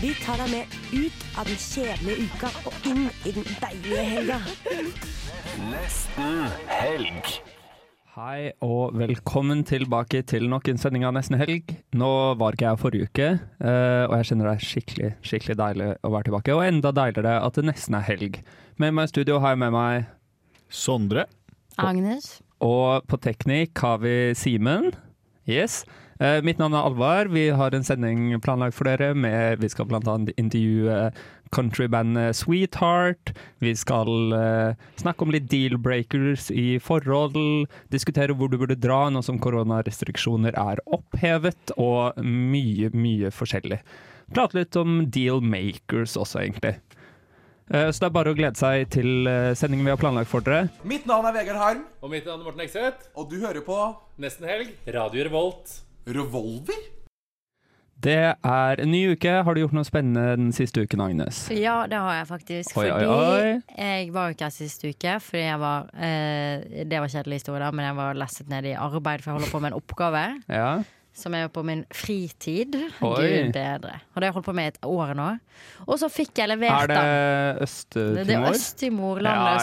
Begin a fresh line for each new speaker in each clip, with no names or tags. Vi tar deg med ut av den kjedelige uka og inn i den deilige helga.
Hei og velkommen tilbake til nok en sending av Nesten Helg. Nå var ikke jeg forrige uke, eh, og jeg kjenner det er skikkelig skikkelig deilig å være tilbake. Og enda deiligere at det nesten er helg. Med meg i studio har jeg med meg
Sondre.
Agnes.
Og på teknikk har vi Simen. Yes. Eh, mitt navn er Alvar. Vi har en sending planlagt for dere. Med, vi skal bl.a. intervjue eh, countrybandet Sweetheart. Vi skal eh, snakke om litt deal-breakers i forhold. Diskutere hvor du burde dra nå som koronarestriksjoner er opphevet. Og mye, mye forskjellig. Prate litt om deal-makers også, egentlig. Eh, så det er bare å glede seg til eh, sendingen vi har planlagt for dere.
Mitt navn er Vegard Harm,
Og mitt navn er Morten Ekseth.
og du hører på
Nesten helg. Radio Revolt.
Revolver.
Det er en ny uke. Har du gjort noe spennende den siste uken, Agnes?
Ja, det har jeg faktisk.
Oi,
fordi
oi, oi.
jeg var jo ikke her sist uke, fordi jeg var eh, Det var kjedelig historie, da, men jeg var lesset ned i arbeid, for jeg holder på med en oppgave
Ja.
som jeg gjør på min fritid.
Oi.
Gud bedre. Og det har jeg holdt på med i et år nå. Og så fikk jeg
Er
levert,
det
da. Det, det er
Øst-Timor?
Øst-Timor-landet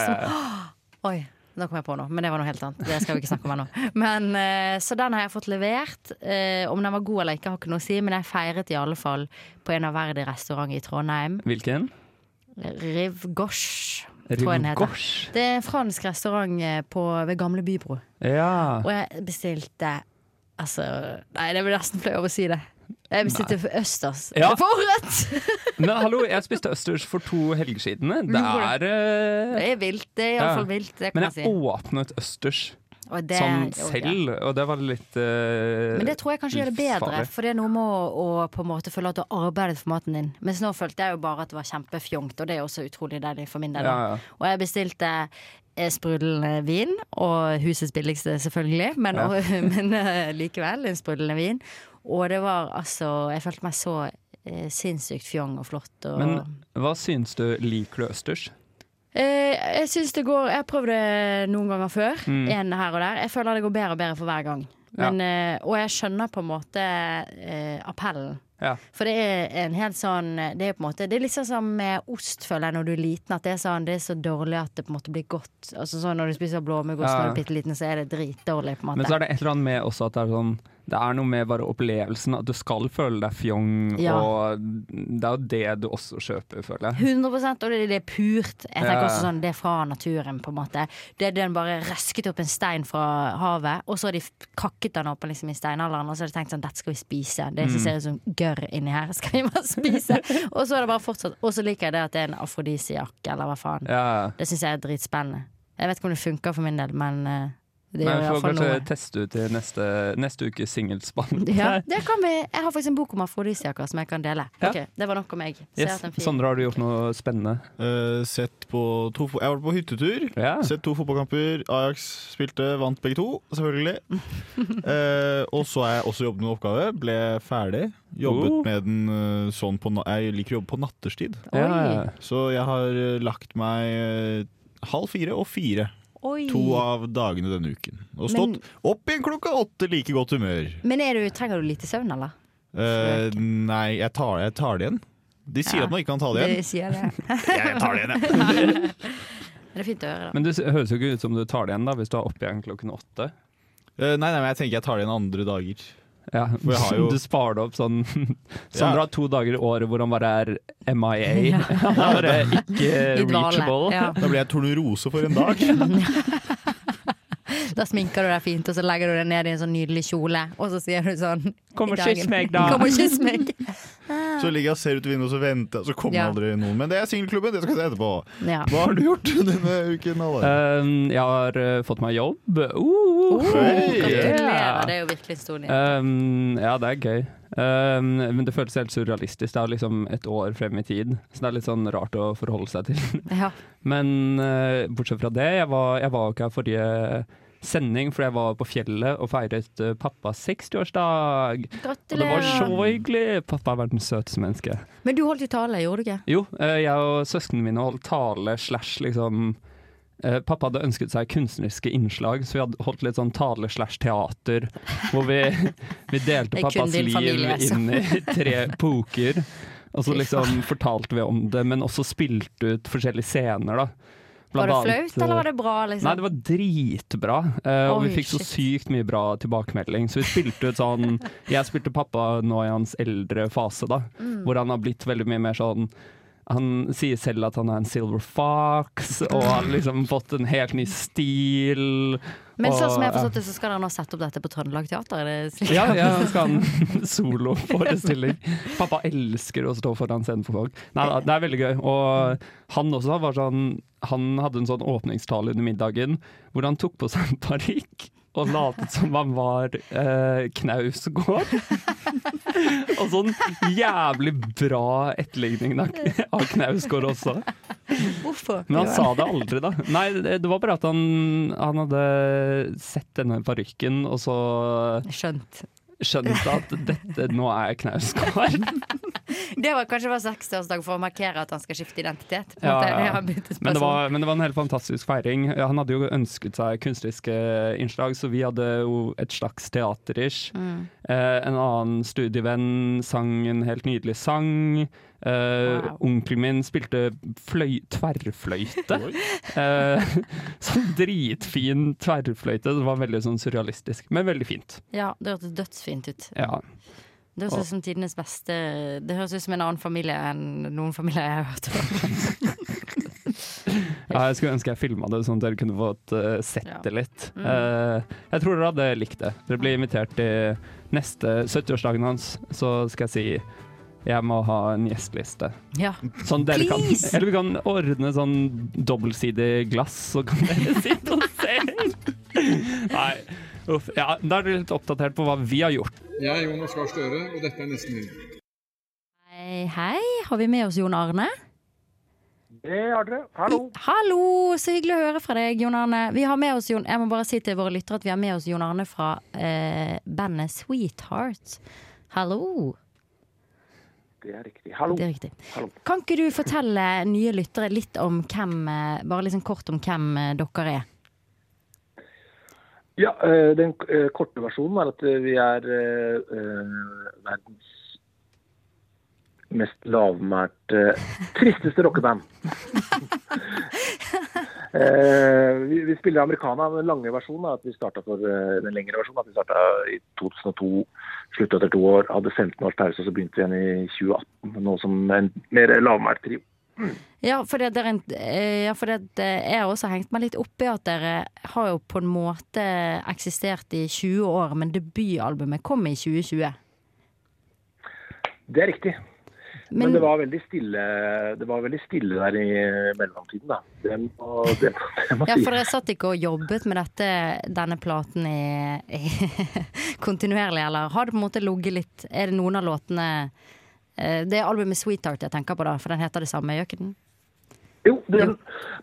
Ja, ja, ja.
som Oi. Nå kom jeg på noe, men det var noe helt annet. Det skal vi ikke snakke om ennå. Men, eh, så den har jeg fått levert. Eh, om den var god eller ikke, har ikke noe å si, men jeg feiret i alle fall på en av verdige restauranter i Trondheim.
Hvilken?
Riv Gosh, tror jeg den heter.
Rivgosj.
Det er en fransk restaurant eh, på, ved Gamle Bybro.
Ja.
Og jeg bestilte Altså, nei, det blir nesten flau av å si det. Jeg bestilte altså. østers.
Ja.
Forrett!
Men hallo, jeg spiste østers for to helger siden. Det
Gjorde
er eh,
Det er vilt. Det er
Ja.
iallfall vilt, det kan
Men
jeg si.
jeg åpnet østers
Og det-
sånn
jo, ja.
selv, og det var litt eh,
Men det tror jeg kanskje gjør det bedre, for det er noe med å, å på en måte føle at du har arbeidet for maten din. Mens nå følte jeg jo bare at det var kjempefjongt, og det er også utrolig deilig for min del. da.
Ja, ja.
Og jeg bestilte eh, sprudlende vin, og husets billigste selvfølgelig, men,
Ja.
og, men eh, likevel en sprudlende vin. Og det var altså Jeg følte meg så eh, sinnssykt fjong og flott. Og,
Men hva syns du? Liker du østers?
eh, jeg syns det går Jeg har prøvd det noen ganger før.
Mm.
En her og der. Jeg føler det går bedre og bedre for hver gang.
Ja.
Men, eh, og jeg skjønner på en måte eh, appellen.
Ja.
For det er en helt sånn Det er på en måte Det er liksom som med ost, føler jeg, når du er liten. At det er sånn Det er så dårlig at det på en måte blir godt. Altså sånn Når du spiser blåmuggost
Ja.
når du er bitte liten, så er det dritdårlig, på en
Men
måte.
så er det et eller annet med også at det er sånn det er noe med bare opplevelsen, at du skal føle deg fjong.
Ja.
Og det er jo det du også kjøper, føler jeg.
100 og det, det er purt. Jeg tenker
Ja.
også sånn, Det er fra naturen, på en måte. Det er den bare røsket opp en stein fra havet, og så har de f- kakket den opp liksom, i steinalderen, og så har de tenkt sånn Dette skal vi spise. Det
Mm.
som ser ut som gørr inni her, skal vi bare spise. og så er det bare fortsatt. Og så liker jeg det at det er en afrodisiak, eller hva faen.
Ja.
Det syns jeg er dritspennende. Jeg vet ikke om det funker for min del, men eh, det
Men vi
gjør
får
iallfall
kanskje
noe.
teste ut i neste, neste ukes singelspann.
Ja, det kan vi. Jeg har faktisk en bok om afrodisiaker som jeg kan dele.
Ja.
Ok, Det var nok om meg. Så jeg har
Yes.
hatt en fin-
Sondre, har du gjort noe spennende?
Eh, sett på to fo- Jeg har vært på hyttetur.
Ja.
Sett to fotballkamper. Ajax spilte, vant begge to, selvfølgelig. Eh, og så har jeg også jobbet med en oppgave. Ble ferdig. Jobbet
Oh.
med den eh, sånn på na Jeg liker å jobbe på nattestid.
Oi.
Ja.
Så jeg har eh, lagt meg eh, halv fire og fire.
Oi.
To av dagene denne uken. Og stått
Men-
opp igjen klokka åtte, like godt humør.
Men er du, trenger du lite søvn, eller?
Eh, nei, jeg tar, jeg tar det igjen. De sier
Ja.
at man ikke kan ta det igjen.
Det sier jeg. det.
Jeg tar det igjen, jeg.
Det er fint å høre, da.
Men det s- høres jo ikke ut som du tar det igjen da, hvis du er oppe igjen klokken åtte.
Eh, nei, nei, men jeg tenker jeg tar det igjen andre dager.
Ja.
jeg har jo-
Du sparer det opp sånn Sondre
Ja.
har to dager i året hvor han bare er MIA. Han er bare ikke
I dvale.
reachable.
Ja.
Da blir jeg tornerose for en dag.
Da sminker du deg fint, og så legger du deg ned i en sånn nydelig kjole, og så sier du sånn
Kom
i
og
dagen.
kyss meg, da.
Kom og kyss meg.
Så ligger jeg og ser ut vinduet og så venter, jeg, og så kommer
Ja.
aldri noen. Men det er singelklubben, det skal jeg se etterpå.
Ja.
Hva har du gjort denne uken, Alle?
Um, jeg har eh, fått meg jobb. Uh,
Oi,
Oh, Gratulerer.
yeah.
Det er jo virkelig en stor
Um,
nyhet.
Ehm, ja, det er gøy. Um, men det føltes helt surrealistisk. Det er liksom et år frem i tid, så det er litt sånn rart å forholde seg til.
Ja.
Men eh, bortsett fra det, jeg var, jeg var jo ikke her forrige sending, for jeg var på fjellet og feiret eh, pappas 60-årsdag. Og det var så
Gratulerer.
hyggelig! Pappa er verdens søteste menneske.
Men du holdt jo tale, gjorde du ikke?
Jo, eh, jeg og søsknene mine holdt tale slash liksom eh, Pappa hadde ønsket seg kunstneriske innslag, så vi hadde holdt litt sånn tale slash teater. Hvor vi, vi delte
Det er kun
pappas
din
liv
familie, altså.
inn i tre poker. Og så
Fy
liksom fortalte vi om det, men også spilte ut forskjellige scener, da. Blant
Var det
annet, eh,
flaut, eller var det bra? liksom?
Nei, det var dritbra. eh, og
Oi,
vi fikk så
shit.
sykt mye bra tilbakemelding. Så vi spilte ut sånn Jeg spilte pappa nå i hans eldre fase, da.
Mm.
Hvor han har blitt veldig mye mer sånn han sier selv at han er en silver fox, og har liksom fått en helt ny stil.
Men
og-
sånn som jeg har forstått det, så skal dere nå sette opp dette på Trøndelag Teater? Er det slik?
Ja, ja, han skal ha en soloforestilling. Pappa elsker å stå foran scenen for folk. Nei, da, det er veldig gøy. Og han også var sånn Han hadde en sånn åpningstale under middagen hvor han tok på seg en parykk. Og latet som han var eh, Knausgård. og sånn jævlig bra etterligning av, av Knausgård også.
Hvorfor?
Men han sa det aldri, da. Nei, det det var bare at han, han hadde sett denne parykken, og så
Skjønt.
skjønt at dette nå er Knausgård.
Det var kanskje bare 60-årsdag for å markere at han skal skifte identitet. På en
Ja,
måte.
ja.
Jeg har byttet
Men det,
person.
var, men det var en helt fantastisk feiring. Ja, Han hadde jo ønsket seg kunstneriske innslag, så vi hadde jo et slags teaterish.
Mm.
Eh, en annen studievenn sang en helt nydelig sang. Eh,
Wow.
Onkelen min spilte fløy, tverrfløyte. Eh, sånn dritfin tverrfløyte. Det var veldig sånn surrealistisk, men veldig fint.
Ja, det hørtes dødsfint ut.
Ja.
Det høres ut som tidenes beste Det høres ut som en annen familie enn noen familier jeg har hørt om.
Ja, jeg skulle ønske jeg filma det, sånn at dere kunne fått eh, sett
Ja.
det litt.
Mm.
Eh, jeg tror dere hadde likt det. Dere blir invitert til neste 70-årsdagen hans, så skal jeg si jeg må ha en gjesteliste.
Ja.
Sånn dere kan,
Please!
eller vi kan ordne sånn dobbeltsidig glass, så kan dere sitte og se. Nei, uff. Ja, da er dere litt oppdatert på hva vi har gjort.
Jeg er Jonas Gahr Støre, og dette er Nesten Helg.
Hei, hei. Har vi med oss Jon Arne?
Det har dere. Hallo.
Hallo, så hyggelig å høre fra deg, Jon Arne. Vi har med oss Jon, jeg må bare si til våre lyttere at vi har med oss Jon Arne fra eh, bandet Sweetheart. Hallo.
Det er riktig. Hallo.
Det er riktig.
Hallo.
Kan ikke du fortelle nye lyttere litt om hvem, eh, bare liksom kort om hvem eh, dere er?
Ja, eh, den eh, korte versjonen er at eh, vi er eh, eh, verdens mest lavmælte, tristeste rockeband. Eh, vi, vi spiller americana. Den lange versjonen er at vi starta for eh, den lengre versjonen. er At vi starta i 2002, slutta etter to år, hadde 15 års pause, og så begynte vi igjen i 2018. Nå som en mer lavmælt trio.
Ja, for det, det er en, eh, ja, for det, det jeg har også hengt meg litt opp i at dere har jo på en måte eksistert i 20 år, men debutalbumet kom i 2020.
Det er riktig. Men,
Men-
det var veldig stille Det var veldig stille der i mellomtiden, da. Det må, det, det må
Ja,
sies.
for dere satt ikke og jobbet med dette, denne platen i, i kontinuerlig, eller har det på en måte ligget litt Er det noen av låtene eh, Det er albumet 'Sweetheart' jeg tenker på, da, for den heter det samme, gjør ikke den?
Jo, det,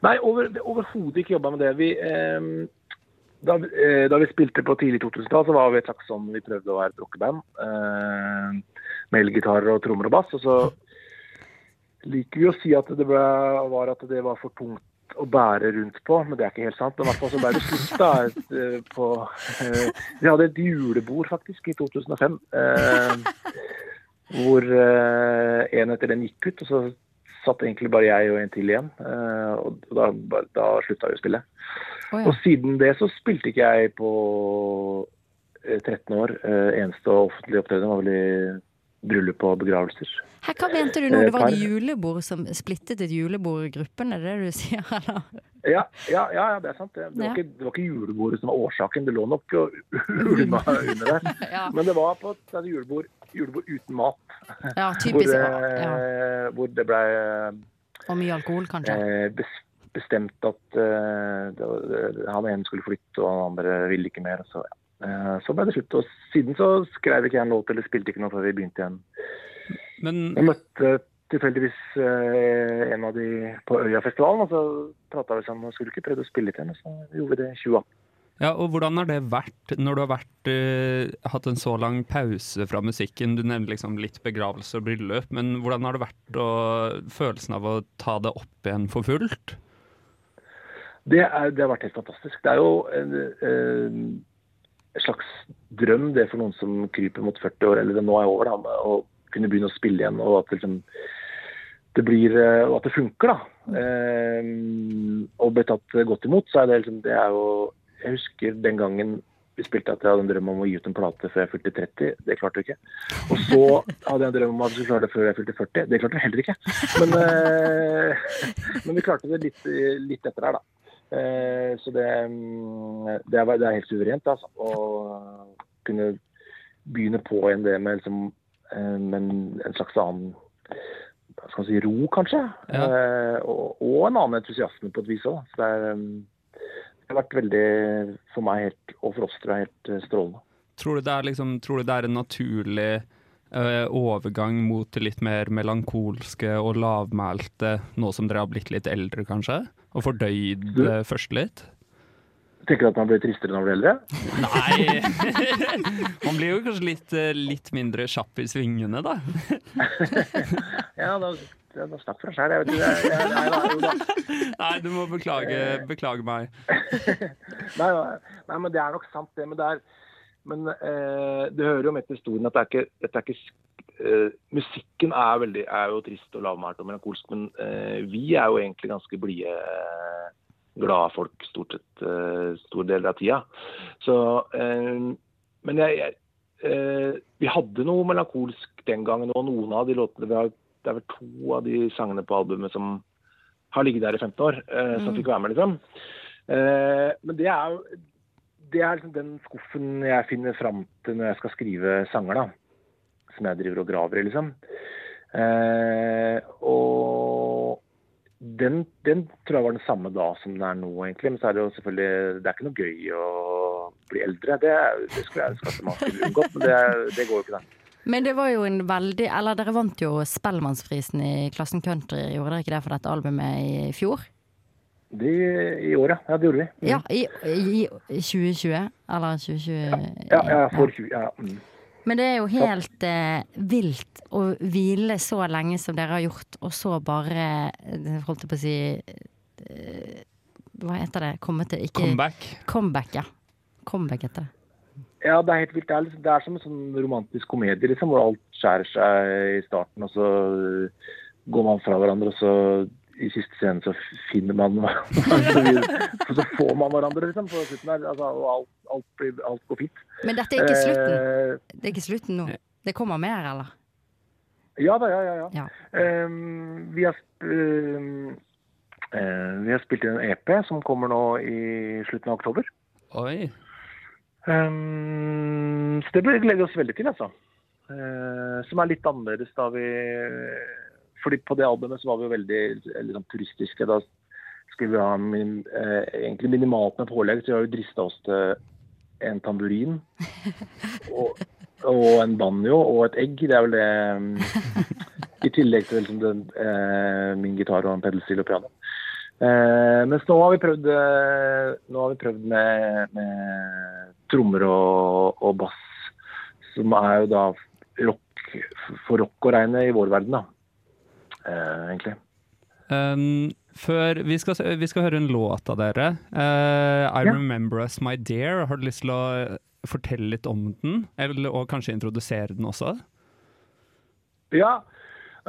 nei, over, det- overhodet ikke jobba med det. Vi, ehm, da, eh, da vi spilte på tidlig 2000-tall, så var vi et slags sånn Vi prøvde å være et rockeband. Eh, med elgitarer og trommer og bass. Og så liker vi å si at det ble, var at det var for tungt å bære rundt på, men det er ikke helt sant. Men i hvert fall så ble det slutt da. et, eh, På, eh, vi hadde et julebord faktisk i 2005. Eh, hvor eh, en etter den gikk ut, og så satt egentlig bare jeg og en til igjen. eh, og da, da slutta vi å spille.
Å, ja.
Og siden det så spilte ikke jeg på eh, 13 år. Eh, eneste offentlige opptreden var vel i bryllup og begravelser.
Her, hva mente
Eh,
du nå? Det var et julebord som splittet et julebord i gruppen, er det det du sier? Eller?
Ja, ja, ja, ja, det er sant. Det, det,
Ja.
var ikke, det var ikke julebordet som var årsaken. Det lå nok og ulma under der. Men det var på et et julebord, julebord uten mat.
Ja, typisk,
Hvor,
ja,
eh, hvor det ble
Og mye alkohol, kanskje?
eh, bes- bestemt at eh, det var- det- han ene skulle flytte, og han andre ville ikke mer. Så, ja. Eh, Så ble det slutt. Og siden så skrev ikke jeg en låt eller spilte ikke noe før vi begynte igjen. Jeg møtte tilfeldigvis eh, en av de på Øyafestivalen, og så prata vi sammen og skulle ikke prøve å spille litt igjen. og Så gjorde vi det i 2018.
Ja, og Hvordan har det vært når du har vært, eh, hatt en så lang pause fra musikken? Du nevnte liksom litt begravelse og bryllup, men hvordan har det vært å, følelsen av å ta det opp igjen for fullt?
Det, er, det har vært helt fantastisk. Det er jo en, en slags drøm det for noen som kryper mot 40 år, eller det nå er over, da, med å kunne begynne å spille igjen. og at liksom, det blir, eh, og at det funker, da. Ehm, og blir tatt godt imot. så er det liksom, det er jo, Jeg husker den gangen vi spilte at jeg hadde en drøm om å gi ut en plate før jeg fylte 30. Det klarte vi ikke. Og så hadde jeg en drøm om at vi skulle klare det før jeg fylte 40. Det klarte vi heller ikke. Men, eh, men vi klarte det litt, litt etter der, da. Eh, så det, mm, det, er, det er helt suverent altså, å kunne begynne på igjen det med liksom, eh, med en, en slags annen hva skal man si, ro, kanskje. Eh, og, og en annen entusiasme på et vis òg. Det, er, mm, det har vært veldig, for meg helt, og for oss, tror jeg, helt eh, strålende.
Tror du det er, liksom, tror du det er en naturlig eh, overgang mot det litt mer melankolske og lavmælte, nå som dere har blitt litt eldre, kanskje? Og fordøyd det først litt?
Tenker du at man blir tristere når man blir eldre?
Nei Man blir jo kanskje litt, eh, litt mindre kjapp i svingene, da.
ja, da, da snakk for deg sjæl. Jeg vet ikke. Jeg, jeg, nei, da, jo da.
Nei, du må beklage, beklage meg.
nei, nei, nei, men det er nok sant, det. Men det, er, men, eh, det hører jo med til historien at det er ikke, dette er ikke sk- eh, Musikken er, veldig, er jo trist og lavmælt og melankolsk, men eh, vi er jo egentlig ganske blide, eh, glade folk stort sett eh, store deler av tida. Så, eh, men jeg, jeg eh, Vi hadde noe melankolsk den gangen, og noen av de låtene vi har Det er vel to av de sangene på albumet som har ligget der i 15 år, eh, som
Mm.
fikk være med, liksom. Eh, men det er jo det er liksom den skuffen jeg finner fram til når jeg skal skrive sanger, da. Som jeg driver og graver i, liksom. Eh, og den, den tror jeg var den samme da som den er nå, egentlig. Men så er det jo selvfølgelig Det er ikke noe gøy å bli eldre. Det, er- det skulle jeg ønske at man skulle unngått, men det, er- det går jo ikke, det.
Men det var jo en veldig Eller dere vant jo Spellemannsprisen i Klassen Country, gjorde dere ikke det for dette albumet i fjor?
Det i år, ja. Ja, det gjorde vi.
Ja, i, i, i 2020? Eller 2020
Ja, ja, for 20, ja. Mm.
Men det er jo helt eh, vilt å hvile så lenge som dere har gjort, og så bare eh, Holdt jeg på å si eh, Hva heter det? Komme til ikke,
Comeback.
Comeback, ja. Comeback heter det.
Ja, det er helt vilt. Det er, liksom, det er som en sånn romantisk komedie, liksom, hvor alt skjærer seg i starten, og så eh, går man fra hverandre, og så i siste scenen så finner man hverandre. Og så får man hverandre, liksom, på slutten her. Altså, og alt, alt, blir, alt går fint.
Men dette er ikke slutten.
Eh,
Det er ikke slutten nå. Det kommer mer, eller?
ja da, ja, ja. ja. Ehm, vi, har, sp- ehm, eh, vi har spilt inn en EP som kommer nå i slutten av oktober.
Oi.
Ehm, så det bør- gleder vi oss veldig til, altså. Eh, som er litt annerledes da vi Fordi på det albumet så var vi jo veldig eh, liksom, turistiske. Da skulle vi ha min, eh, egentlig minimalt med pålegg, så vi har jo drista oss til en tamburin og, og en banjo og et egg. Det er vel det mm, I tillegg til liksom, den, eh, min gitar og en pedalstil og piano. Eh, mens nå har vi prøvd, eh, nå har vi prøvd med, med trommer og, og bass, som er jo da rock, for rock å regne i vår verden, da. Eh, egentlig.
Um, før, vi, skal, se- vi skal høre en låt av dere. Eh, I
Ja.
Remember Us My Dear. Har du lyst til å fortelle litt om den? Eller, og kanskje introdusere den også?
Ja,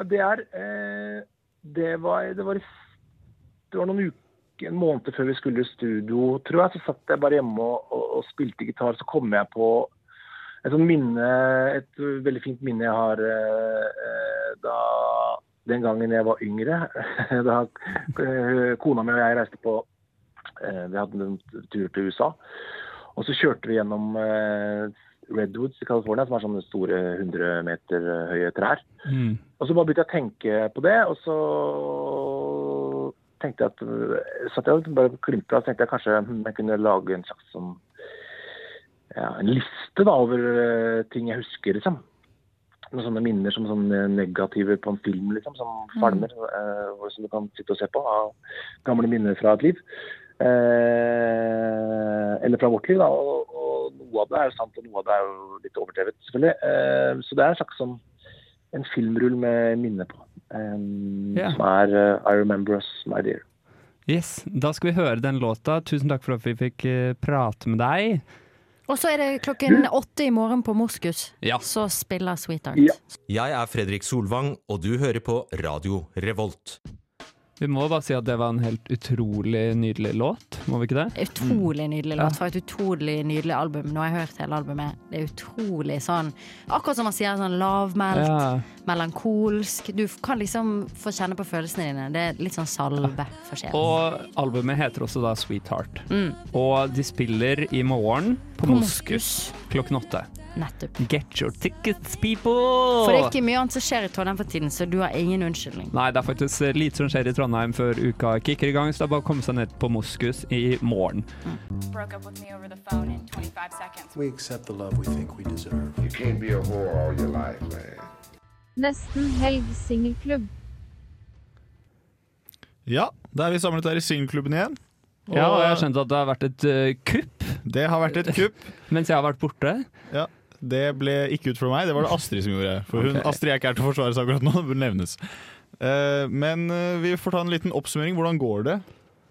det er eh, det, var, det, var, det var noen uker, en måned før vi skulle i studio, tror jeg. Så satt jeg bare hjemme og, og, og spilte gitar. Så kom jeg på et sånt minne, et veldig fint minne jeg har eh, eh, da den gangen jeg var yngre. da eh, kona mi og jeg reiste på eh, Vi hadde en tur til USA. Og så kjørte vi gjennom eh, Redwoods i California, som er sånne store 100 meter eh, høye trær. Og så bare begynte jeg å tenke på det, og så tenkte jeg at øh, satt jeg og bare klimpet, og så tenkte jeg kanskje hm, jeg kunne lage en slags sånn ja, en liste da, over eh, ting jeg husker, liksom. Med sånne minner som sånne negativer på en film, liksom, som
Mm.
falmer. eh, hvor- som du kan sitte og se på av gamle minner fra et liv. Eh, eller fra vårt liv, da. Og, og noe av det er jo sant, og noe av det er jo litt overdrevet, selvfølgelig. Eh, så det er en slags sånn en filmrull med minner på. eh,
Ja.
Som er eh, I Remember Us, My Dear.
Yes, Da skal vi høre den låta. Tusen takk for at vi fikk eh, prate med deg.
Og så er det
Mm.
klokken åtte i morgen på Moskus. Så spiller Sweetheart.
Jeg er Fredrik Solvang, og du hører på Radio Revolt.
Vi må bare si at det var en helt utrolig nydelig låt, må vi ikke det?
Utrolig nydelig
Ja.
låt fra et utrolig nydelig album. Nå har jeg hørt hele albumet. Det er utrolig sånn Akkurat som man sier, sånn lavmælt,
Ja.
melankolsk. Du f- kan liksom få kjenne på følelsene dine. Det er litt sånn salve for sjelen.
Og albumet heter også da Sweetheart.
Mm.
Og de spiller i morgen på,
På
Moskus klokken åtte.
Nettopp.
Get your tickets, people!
For det er ikke mye annet som skjer i Trondheim for tiden, så du har ingen unnskyldning.
Nei, det er faktisk lite som skjer i Trondheim før uka kicker i gang, så det er bare å komme seg ned på Moskus i morgen.
broke up with me over the phone in 25 seconds.
We accept the love we think we deserve. You can't be a whore all your life, man.
Nesten helg singelklubb.
Ja, da er vi samlet her i singelklubben igjen.
Ja, og jeg har skjønt at det har vært et eh, kupp.
Det har vært et kupp.
Mens jeg har vært borte.
Ja, det ble ikke ut for meg, det var det Astrid som gjorde. For hun,
Ok.
Astrid er ikke her til å forsvare seg akkurat nå, det bør nevnes. Eh, men eh, vi får ta en liten oppsummering. Hvordan går det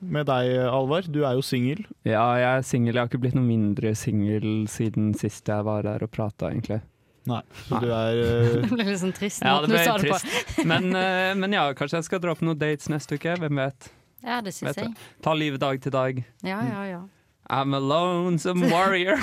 med deg, Alvar? Du er jo singel.
Ja, jeg er singel. Jeg har ikke blitt noe mindre singel siden sist jeg var der og prata, egentlig.
Nei, så du er eh,
Det ble litt sånn trist.
Ja, det
måten du
ble
sa på.
trist. Men, eh, men ja, kanskje jeg skal dra på noen dates neste uke. Hvem vet?
Ja, det syns
Vet
jeg.
du. Ta livet dag til dag.
Ja, ja, ja.
I'm a lonesome warrior.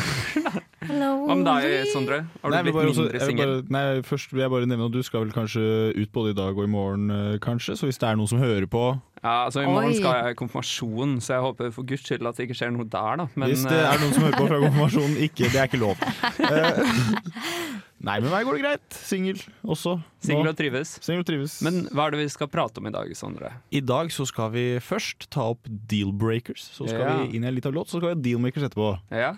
Hello.
Hva med deg, Sondre? Har du
Nei, men
blitt
bare også- eh,
mindre
jeg vil
singel?
bare- Nei, først vil jeg bare nevne at du skal vel kanskje ut både i dag og i morgen, eh, kanskje. Så hvis det er noen som hører på
Ja, altså I morgen
Oi.
skal jeg i konfirmasjon, så jeg håper for guds skyld at det ikke skjer noe der, da. Men,
Hvis det
eh,
er noen som hører på fra konfirmasjonen, ikke, det er ikke lov. Eh, nei, med meg går det greit. Singel også.
Singel og
Nå.
trives.
Singel og trives.
Men hva er det vi skal prate om i dag, Sondre?
I dag så skal vi først ta opp deal-breakers. Så skal
Ja.
vi inn i en liten låt, så skal vi ha dealmakers etterpå.
Ja.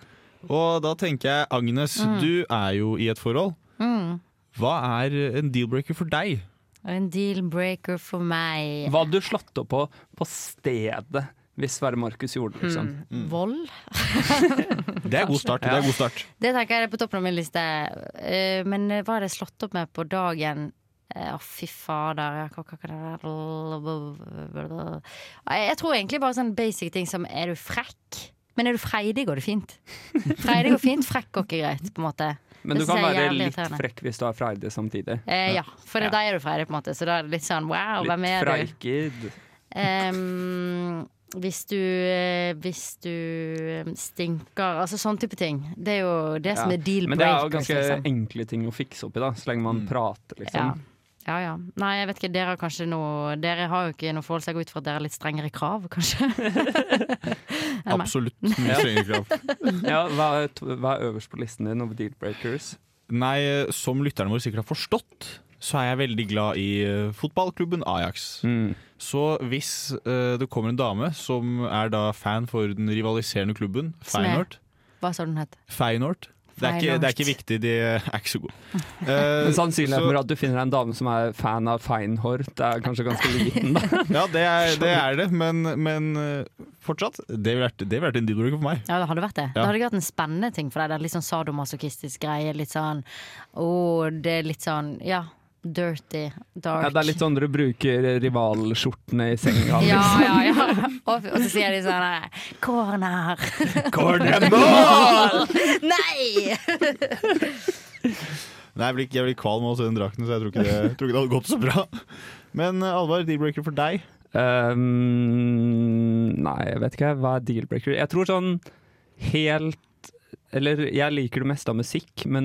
Og da tenker jeg, Agnes,
Mm.
du er jo i et forhold.
Mm.
Hva er en deal-breaker for deg?
Og en deal-breaker for meg.
Hva hadde du slått opp på på stedet hvis Sverre Markus gjorde det, liksom?
Hmm. Vold?
Det er god start. Det er god start.
Det tenker jeg er på toppen av min liste. Eh, Men hva hadde jeg slått opp med på dagen? Eh, Å, fy fader. ja, hva- hva kan det være? Jeg jeg tror egentlig bare sånn basic ting som er du frekk? Men er du freidig, går det fint. Freidig går fint, frekk går ikke greit, på en måte.
Men du
Det
kan
synes jeg er
være
jævlig
litt
irriterende.
frekk hvis du er freidig samtidig.
Eh, ja, for da er du freidig, på en måte. Så da er det litt sånn wow, hvem er du?
Litt freikid.
Ehm, hvis du eh, Hvis du eh, stinker Altså sånn type ting. Det er jo det som
Ja.
er deal
Men det er jo
breakers,
ganske
liksom.
enkle ting å fikse opp i, da, så lenge
Hmm.
man prater,
Ja.
liksom.
ja ja. Nei, jeg vet ikke, dere har kanskje noe Dere har jo ikke noe forhold, så jeg går ut fra at dere har litt strengere krav, kanskje? Enn meg.
Absolutt. Mye strengere krav.
ja, hva, er, t- hva er øverst på listen din over deal-breakers?
Nei, som lytterne våre sikkert har forstått, så er jeg veldig glad i eh, fotballklubben Ajax.
Mm.
Så hvis eh, det kommer en dame som er da fan for den rivaliserende klubben,
Som er-
Feyenoord
Hva sa du den het?
Feyenoord. Det er, ikke, det er ikke viktig, de er ikke så gode. Eh,
Men sannsynligheten
så-
for at du finner en dame som er fan av Feinhorn, det er kanskje ganske liten, da.
Ja, det er det, er det men, men eh, fortsatt. Det ville vært, det ville vært en dealbreaker for meg.
Ja, det hadde vært det.
Ja.
Det hadde ikke vært en spennende ting for deg. Det er Litt sånn sadomasochistisk greie. Litt sånn Å, det er litt sånn Ja, dirty, dark.
Ja, det er litt sånn dere bruker rivalskjortene i senga.
Ja,
liksom.
ja, ja. Og, og så sier de sånn eh, Corner!
Cornerball!
Nei!
Nei, jeg blir, jeg blir kvalm av å se den drakten, så jeg tror ikke det, jeg tror ikke det hadde gått så bra. Men eh, Alvar, dealbreaker for deg?
Ehm, nei, jeg vet ikke hva er deal-breaker. Jeg tror sånn helt Eller jeg liker det meste av musikk, men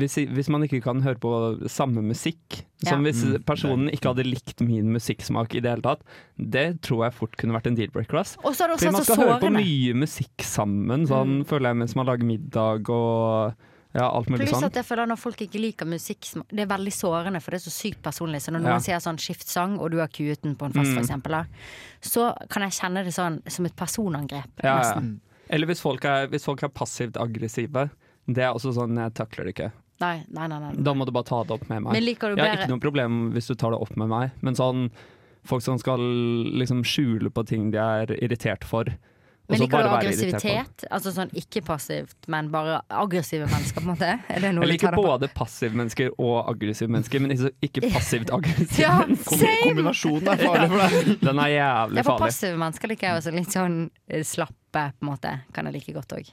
hvis, hvis man ikke kan høre på samme musikk Som
Ja.
hvis
Mm,
personen ikke hadde likt min musikksmak i det hele tatt, det tror jeg fort kunne vært en deal-breaker. ass.
Og så har det også
Fordi
vært
man
så altså Mm.
skal høre på
sårende.
mye musikk sammen, sånn føler jeg, mens man lager middag og ja, alt mulig
Pluss
sånn.
at jeg føler at når folk ikke liker musikk som- Det er veldig sårende, for det er så sykt personlig. Så når
Ja.
noen sier sånn 'skift sang', og du har kuet den på en fest,
Mm.
for eksempel, da, så kan jeg kjenne det sånn som et personangrep.
Ja, ja.
nesten.
Eller hvis folk er, hvis folk er passivt aggressive. Det er også sånn jeg takler det ikke.
Nei, nei, nei, nei.
Da må du bare ta det opp med meg.
Men liker du
jeg har
bedre-
ikke noe problem hvis du tar det opp med meg, men sånn folk som skal liksom skjule på ting de er irritert for. og
Men
så
liker du
bare være irritert på det.
aggressivitet? Altså sånn ikke passivt, men bare aggressive mennesker, på en måte? Er det noe
Jeg
du tar
liker
deg på?
både passive mennesker og aggressive mennesker, men ikke- ikke passivt aggressive.
Ja,
mennesker.
same! Kombinasjonen er farlig for
deg. Den er
Ja,
jævlig
for
farlig.
passive mennesker liker jeg også litt sånn eh, slappe, på en måte. Kan jeg like godt òg.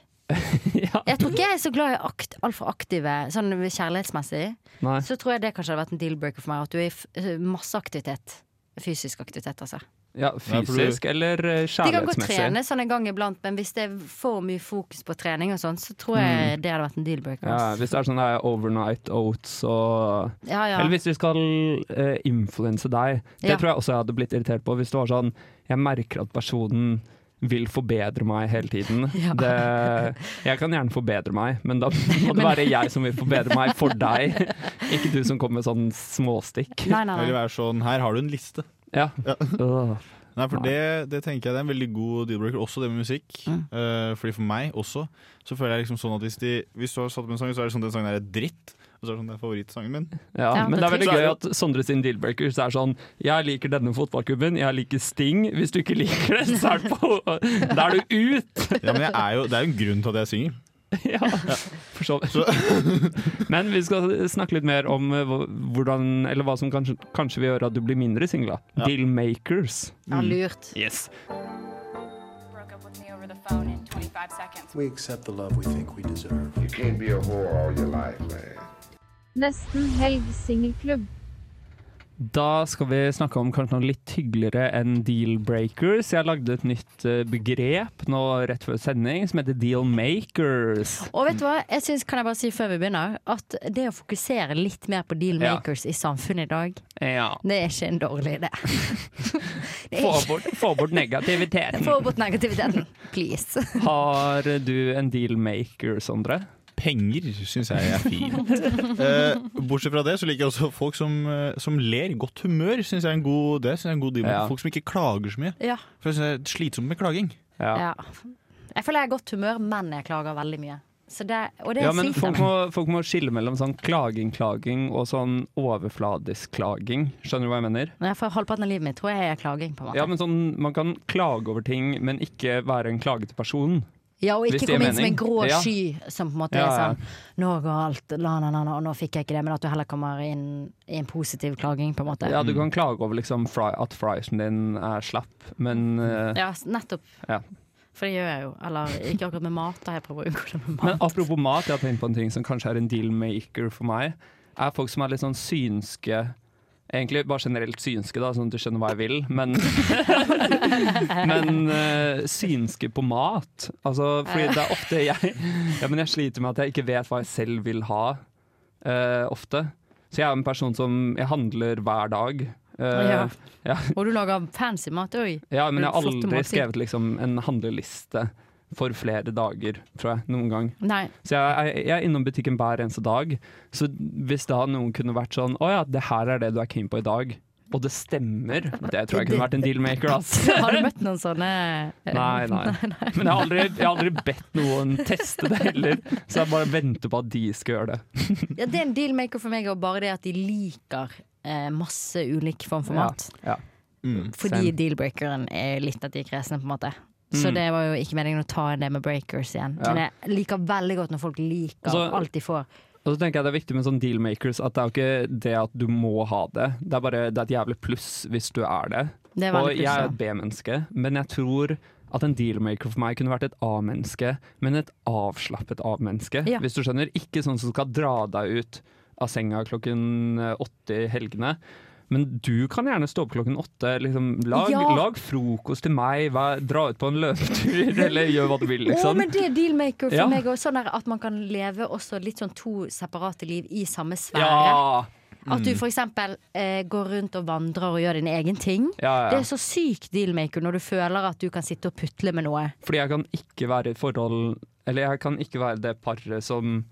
Jeg tror ikke jeg er så glad i akt, altfor aktive, sånn kjærlighetsmessig.
Nei.
Så tror jeg det kanskje hadde vært en deal-breaker for meg, at du er i f eh, masse aktivitet. Fysisk aktivitet, altså.
Ja, fysisk eller eh,
De kan godt trene
kjærlighetsmessig.
sånn en gang iblant, men hvis det er for mye fokus på trening og sånn, så tror jeg det hadde vært en deal-breaker.
Mm. Ja,
ass.
hvis det er sånn der overnight oats og
Ja, ja.
Eller hvis du skal eh, influense deg. Det
Ja.
tror jeg også jeg hadde blitt irritert på. Hvis det var sånn Jeg merker at personen vil forbedre meg hele tiden. Det, jeg kan gjerne forbedre meg, men da må det være jeg som vil forbedre meg for deg. Ikke du som kommer med sånn småstikk.
Nei, nei, nei.
Eller være sånn Her har du en liste.
Ja.
Nei, for det, det tenker jeg det er en veldig god deal-breaker, også det med musikk. Eh, fordi For meg også, så føler jeg liksom sånn at hvis, de, hvis du har satt opp en sang, så er det sånn den sangen her er dritt. Og så er det sånn det er favorittsangen min.
Ja, men det er veldig gøy at Sondre sin dealbreaker så er sånn Jeg liker denne fotballklubben, jeg liker Sting. Hvis du ikke liker det, så er, det på, da er du ut!
Ja, men jeg er jo, det er jo en grunn til at jeg synger.
For så vidt. Men vi skal snakke litt mer om eh, hvor- hvordan, eller hva som kanskje, kanskje vil gjøre at du blir mindre singla. Dealmakers.
Ja, lurt.
Yes.
Me over the phone in 25 seconds.
We accept the love we think we deserve. You can't be a whore all your life, man.
Nesten helg singelklubb.
Da skal vi snakke om kanskje noe litt hyggeligere enn dealbreakers. Jeg lagde et nytt eh, begrep nå rett før sending som heter dealmakers.
Og vet du hva, jeg synes, kan jeg bare si før vi begynner, at det å fokusere litt mer på deal-makers i samfunnet i dag,
Ja.
det er ikke en dårlig idé. Det er
Få
ikke-
bort, få bort negativiteten.
Få bort negativiteten, please.
Har du en dealmaker, Sondre?
Penger syns jeg er fint. Eh, bortsett fra det så liker jeg også folk som, eh, som ler. Godt humør syns jeg er en god, det synes jeg er en god deal.
Ja.
Folk som ikke klager så mye.
Ja.
For jeg synes det er slitsomt med klaging.
Ja. Jeg føler jeg er i godt humør, men jeg klager veldig mye. Så det, og det
Ja, men
sliter
folk
jeg med.
må, folk må skille mellom sånn klaging-klaging og sånn overfladisk klaging. Skjønner du hva jeg mener?
Når jeg får halvparten av livet mitt, tror jeg jeg er klaging. på en måte.
Ja, men sånn, Man kan klage over ting, men ikke være en klagete person.
Ja, og
Hvis
ikke
det gir
komme inn som en
mening.
grå
Ja.
sky som på en måte
Ja, ja.
er sånn Nå går alt, la, la, la, la, og nå fikk jeg ikke det. Men at du heller kommer inn i en positiv klaging, på en måte.
Ja, Du kan klage over liksom fry, at friesen din er slapp, men eh,
Ja, s- nettopp.
ja.
For det gjør jeg jo. Eller ikke akkurat med mat, da. Jeg prøver å unngå det med
Men
mat.
apropos mat, jeg har tenkt på en ting som kanskje er en dealmaker for meg. Er folk som er litt sånn synske Egentlig bare generelt synske, da, sånn at du skjønner hva jeg vil, men Men eh, synske på mat. Altså, fordi det er ofte jeg Ja, men jeg sliter med at jeg ikke vet hva jeg selv vil ha, eh, ofte. Så jeg er en person som Jeg handler hver dag. Eh, ja.
Og du lager fancy mat òg.
Ja, men jeg har aldri skrevet liksom, en handleliste for flere dager, tror jeg. Noen gang.
Nei.
Så jeg, jeg, jeg er innom butikken hver eneste dag. Så hvis da noen kunne vært sånn Å ja, det her er det du er keen på i dag. Og det stemmer. Det tror jeg kunne vært en dealmaker. ass.
Har du møtt noen sånne eh,
Nei, nei. Men jeg har, aldri, jeg har aldri bedt noen teste det heller. Så jeg bare venter på at de skal gjøre det.
Ja, det er en dealmaker for meg, og bare det at de liker eh, masse ulik form for
Ja,
mat.
ja.
Fordi deal-breakeren er litt at de er kresne, på en måte. Så
Mm.
det var jo ikke meningen å ta inn det med breakers igjen.
Ja.
Men jeg liker veldig godt når folk liker
Altså-
alt de får.
Og så tenker jeg det er viktig med sånn dealmakers at det er jo ikke det at du må ha det. Det er bare det er et jævlig pluss hvis du er det.
Det er veldig
og jeg
pluss, ja.
er et B-menneske, men jeg tror at en dealmaker for meg kunne vært et A-menneske, men et avslappet A-menneske,
Ja.
hvis du skjønner. Ikke sånn som skal dra deg ut av senga klokken eh, åtte i helgene. Men du kan gjerne stå opp klokken åtte. Liksom, lag,
Ja.
lag frokost til meg, vær, dra ut på en løpetur, eller gjør hva du vil, liksom.
Å, men det er dealmaker for
Ja.
meg òg. Sånn der at man kan leve også litt sånn to separate liv i samme sfære.
Ja.
At du
Mm.
f.eks. Eh, går rundt og vandrer og gjør din egen ting.
Ja, ja.
Det er så sykt dealmaker når du føler at du kan sitte og putle med noe.
Fordi jeg kan ikke være i forhold Eller jeg kan ikke være det paret som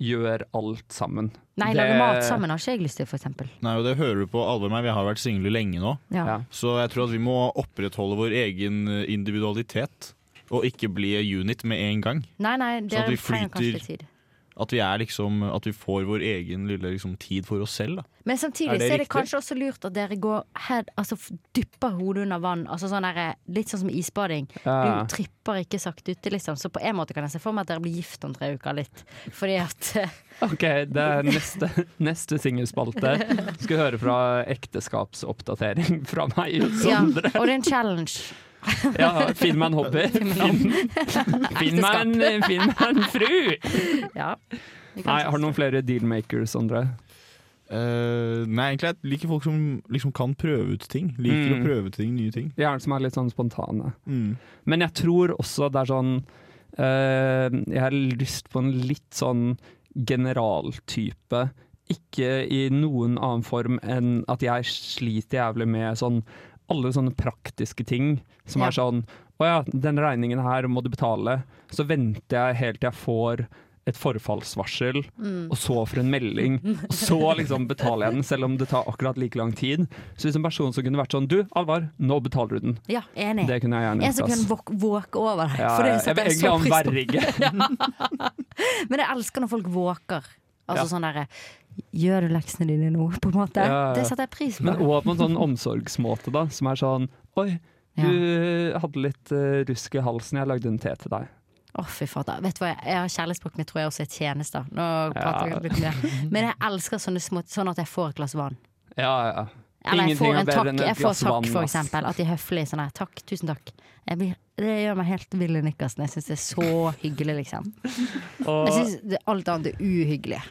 gjør alt sammen.
Nei,
Det-
lage mat sammen har ikke jeg lyst til, f.eks.
Nei, og Det hører du på alvor meg. Vi har vært single lenge nå.
Ja. Ja.
Så jeg tror at vi må opprettholde vår egen individualitet. Og ikke bli a unit med en gang.
Nei, nei,
Sånn at
dere
vi
trenger kanskje
flyter-
litt tid.
At vi, er liksom, at vi får vår egen lille liksom, tid for oss selv. Da.
Men samtidig så er det kanskje også lurt at dere går head, altså, f- dypper hodet under vann. Altså sånn der, litt sånn som isbading.
Ja.
Du tripper ikke sakte ute, liksom. Så på en måte kan jeg se for meg at dere blir gift om tre uker, litt. Fordi at eh,
OK, det er neste, neste singelspalte. Skal høre fra ekteskapsoppdatering fra meg og
ja,
Sondre.
Og det er en challenge.
Ja, finn meg en hobby. Finn, finn, meg, en, finn meg en fru!
Ja.
Nei, har du noen flere dealmakers, Sondre?
Eh, nei, egentlig jeg liker folk som liksom kan prøve ut ting. Liker
Mm.
å prøve ut ting, nye ting.
Gjerne som er litt sånn spontane.
Mm.
Men jeg tror også det er sånn eh, Jeg har lyst på en litt sånn generaltype. Ikke i noen annen form enn at jeg sliter jævlig med sånn alle sånne praktiske ting som
Ja.
er sånn Å ja, den regningen her må du betale. Så venter jeg helt til jeg får et forfallsvarsel,
Mm.
og så for en melding. Og så liksom betaler jeg den, selv om det tar akkurat like lang tid. Så hvis en person som kunne vært sånn Du, Alvar, nå betaler du den.
Ja, enig.
Det kunne jeg gjerne
En som
gjort,
kunne
ass.
våk- våke over deg.
Ja,
for det
ja,
setter
jeg vil
så
egentlig ha en
pris på. Ja. Men jeg elsker når folk våker. Altså
Ja.
sånn derre Gjør du leksene dine nå, på en måte?
Ja, ja.
Det setter jeg pris på.
Men også på en sånn omsorgsmåte, da, som er sånn Oi, du hadde litt eh, rusk i halsen, jeg lagde en te til deg.
Å, fy fader. Vet du hva, jeg har kjærlighetsspråk, men jeg tror jeg også er tjenester. Nå
Ja.
prater jeg litt mer. Men jeg elsker sånne små Sånn at jeg får et glass vann.
Ja, ja.
Eller jeg får
er
en
bedre
takk,
enn et
jeg får
glass
takk
vann,
for
ass.
eksempel. At de er høflige sånn her. Takk, tusen takk. Jeg blir, det gjør meg helt vill i nikkersen. Jeg syns det er så hyggelig, liksom. Jeg syns det- alt annet er uhyggelig.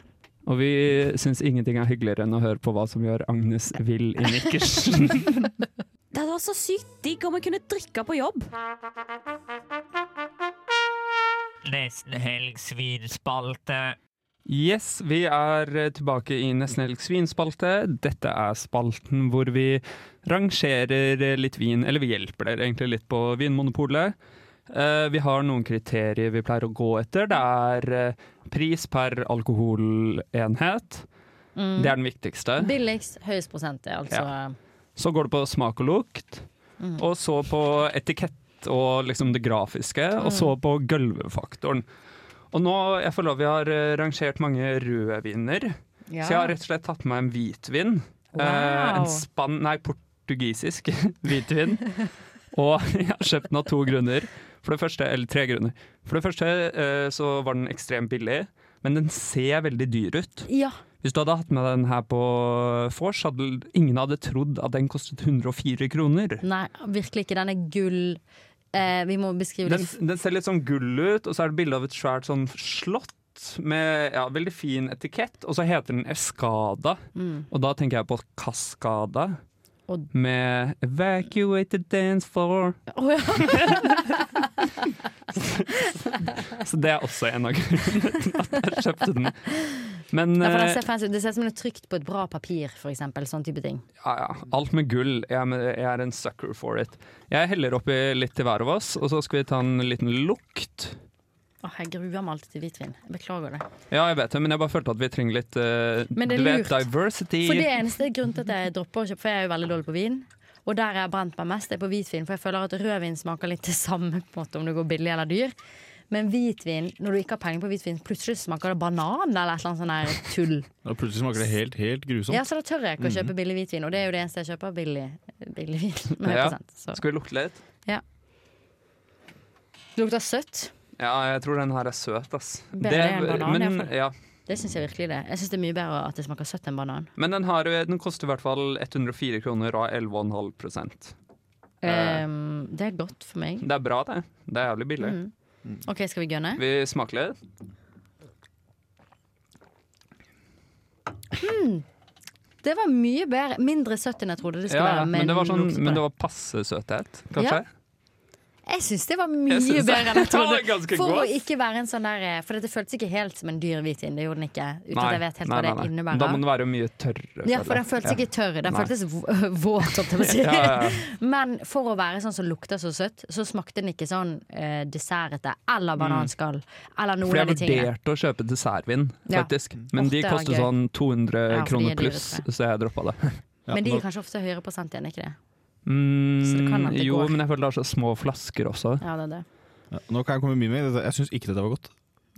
Og vi syns ingenting er hyggeligere enn å høre på hva som gjør Agnes vill i nikkersen.
Det hadde vært så sykt digg om jeg kunne drikke på jobb.
Nesten helg svinspalte.
Yes, vi er tilbake i Nesten Helg Svin-spalte. Dette er spalten hvor vi rangerer litt vin, eller vi hjelper dere egentlig litt på Vinmonopolet. Eh, vi har noen kriterier vi pleier å gå etter. Det er eh, pris per alkoholenhet.
Mm.
Det er den viktigste.
Billigst, høyest prosent, det er altså
Ja. Så går det på smak og lukt,
Mm.
og så på etikett og liksom det grafiske, og så
Mm.
på gulvefaktoren. Og nå, jeg føler vi har eh, rangert mange rødviner,
Ja.
så jeg har rett og slett tatt med meg en hvitvin.
Wow.
Eh, en spann, nei, portugisisk hvitvin. og jeg har kjøpt den av to grunner. For det første, eller tre grunner. For det første eh, så var den ekstremt billig, men den ser veldig dyr ut.
Ja.
Hvis du hadde hatt med den her på vors, hadde l- ingen hadde trodd at den kostet 104 kroner.
Nei, virkelig ikke. Den er gull. Eh, vi må beskrive
Den,
litt.
den ser litt sånn gull ut, og så er det bilde av et svært sånn slott med ja, veldig fin etikett, og så heter den Escada.
Mm.
Og da tenker jeg på Cascada
Og-
med 'Evacuate the dance floor'. så det er også en av grunnene til at jeg kjøpte den. Men
Ja, for den
eh,
ser fancy ut. Det ser ut som det er trykt på et bra papir, for eksempel. Sånn type ting.
Ja, ja. Alt med gull. Jeg, er med- jeg er en sucker for it. Jeg heller oppi litt til hver av oss, og så skal vi ta en liten lukt.
Åh, jeg gruer meg alltid til hvitvin. Jeg Beklager det.
Ja, jeg vet det, men jeg bare følte at vi trenger litt eh,
Men det er
du vet,
lurt.
diversity.
For det er eneste grunnen til at jeg dropper å kjøpe, for jeg er jo veldig dårlig på vin. Og der jeg har brent meg mest, er på hvitvin, for jeg føler at rødvin smaker litt det samme på en måte, om det går billig eller dyr. Men hvitvin, når du ikke har penger på hvitvin, plutselig smaker det banan eller et eller annet sånn her tull.
Da plutselig smaker det helt, helt grusomt.
Ja, så da tør jeg ikke å
Mhm.
kjøpe billig hvitvin, og det er jo det eneste jeg kjøper, billig, billig vin. Med
Ja.
100%, så.
Skal vi lukte litt?
Ja. Det lukter søtt.
Ja, jeg tror den her er søt, ass.
Bedre enn banan, i hvert
men,
fall.
ja.
Det syns jeg virkelig det. Jeg syns det er mye bedre at det smaker søtt enn banan.
men den, har, den koster i hvert fall 104 kroner og er 11,5 Eh.
Ehm, det er godt for meg.
Det er bra, det. Det er jævlig billig.
Mm. OK, skal vi gønne?
Vi smaker litt.
Mm. Det var mye bedre. Mindre søtt enn jeg trodde det skulle
Ja,
være.
men, det var sånn,
lukter på
men
det.
det var passe søthet, kanskje?
Jeg syns det var
Jeg
mye
synes det-
bedre enn jeg
Ja, det er
trodde.
ganske
For å
godt.
ikke være en sånn der eh, For dette føltes ikke helt som en dyr hvitvin. Det gjorde den ikke. Uten at jeg vet helt hva det
Da må den
innebærer.
være mye tørrere.
Ja,
føler
for den
jeg.
føltes
Ja.
ikke tørr. Den
Nei.
føltes v- eh, våt, holdt jeg på å si.
Ja, ja, ja.
Men for å være sånn som lukter så søtt, så smakte den ikke sånn eh, dessertete
Mm.
eller bananskall eller noen
Fordi jeg
av de tingene.
vurderte å kjøpe dessertvin,
Ja. Mm.
faktisk. Men
Ofte
de
er det
koster
gøy.
sånn 200
Ja, for de er
kroner
dyre,
pluss,
tror
så jeg droppa det.
Men de er kanskje ofte høyere prosent igjen, ikke det?
mm,
så det kan at det
Jo,
går.
men jeg føler det er så små flasker også.
Ja, det er det.
Ja, nå kan jeg komme med min mening. Dette- Jeg syns ikke dette var godt.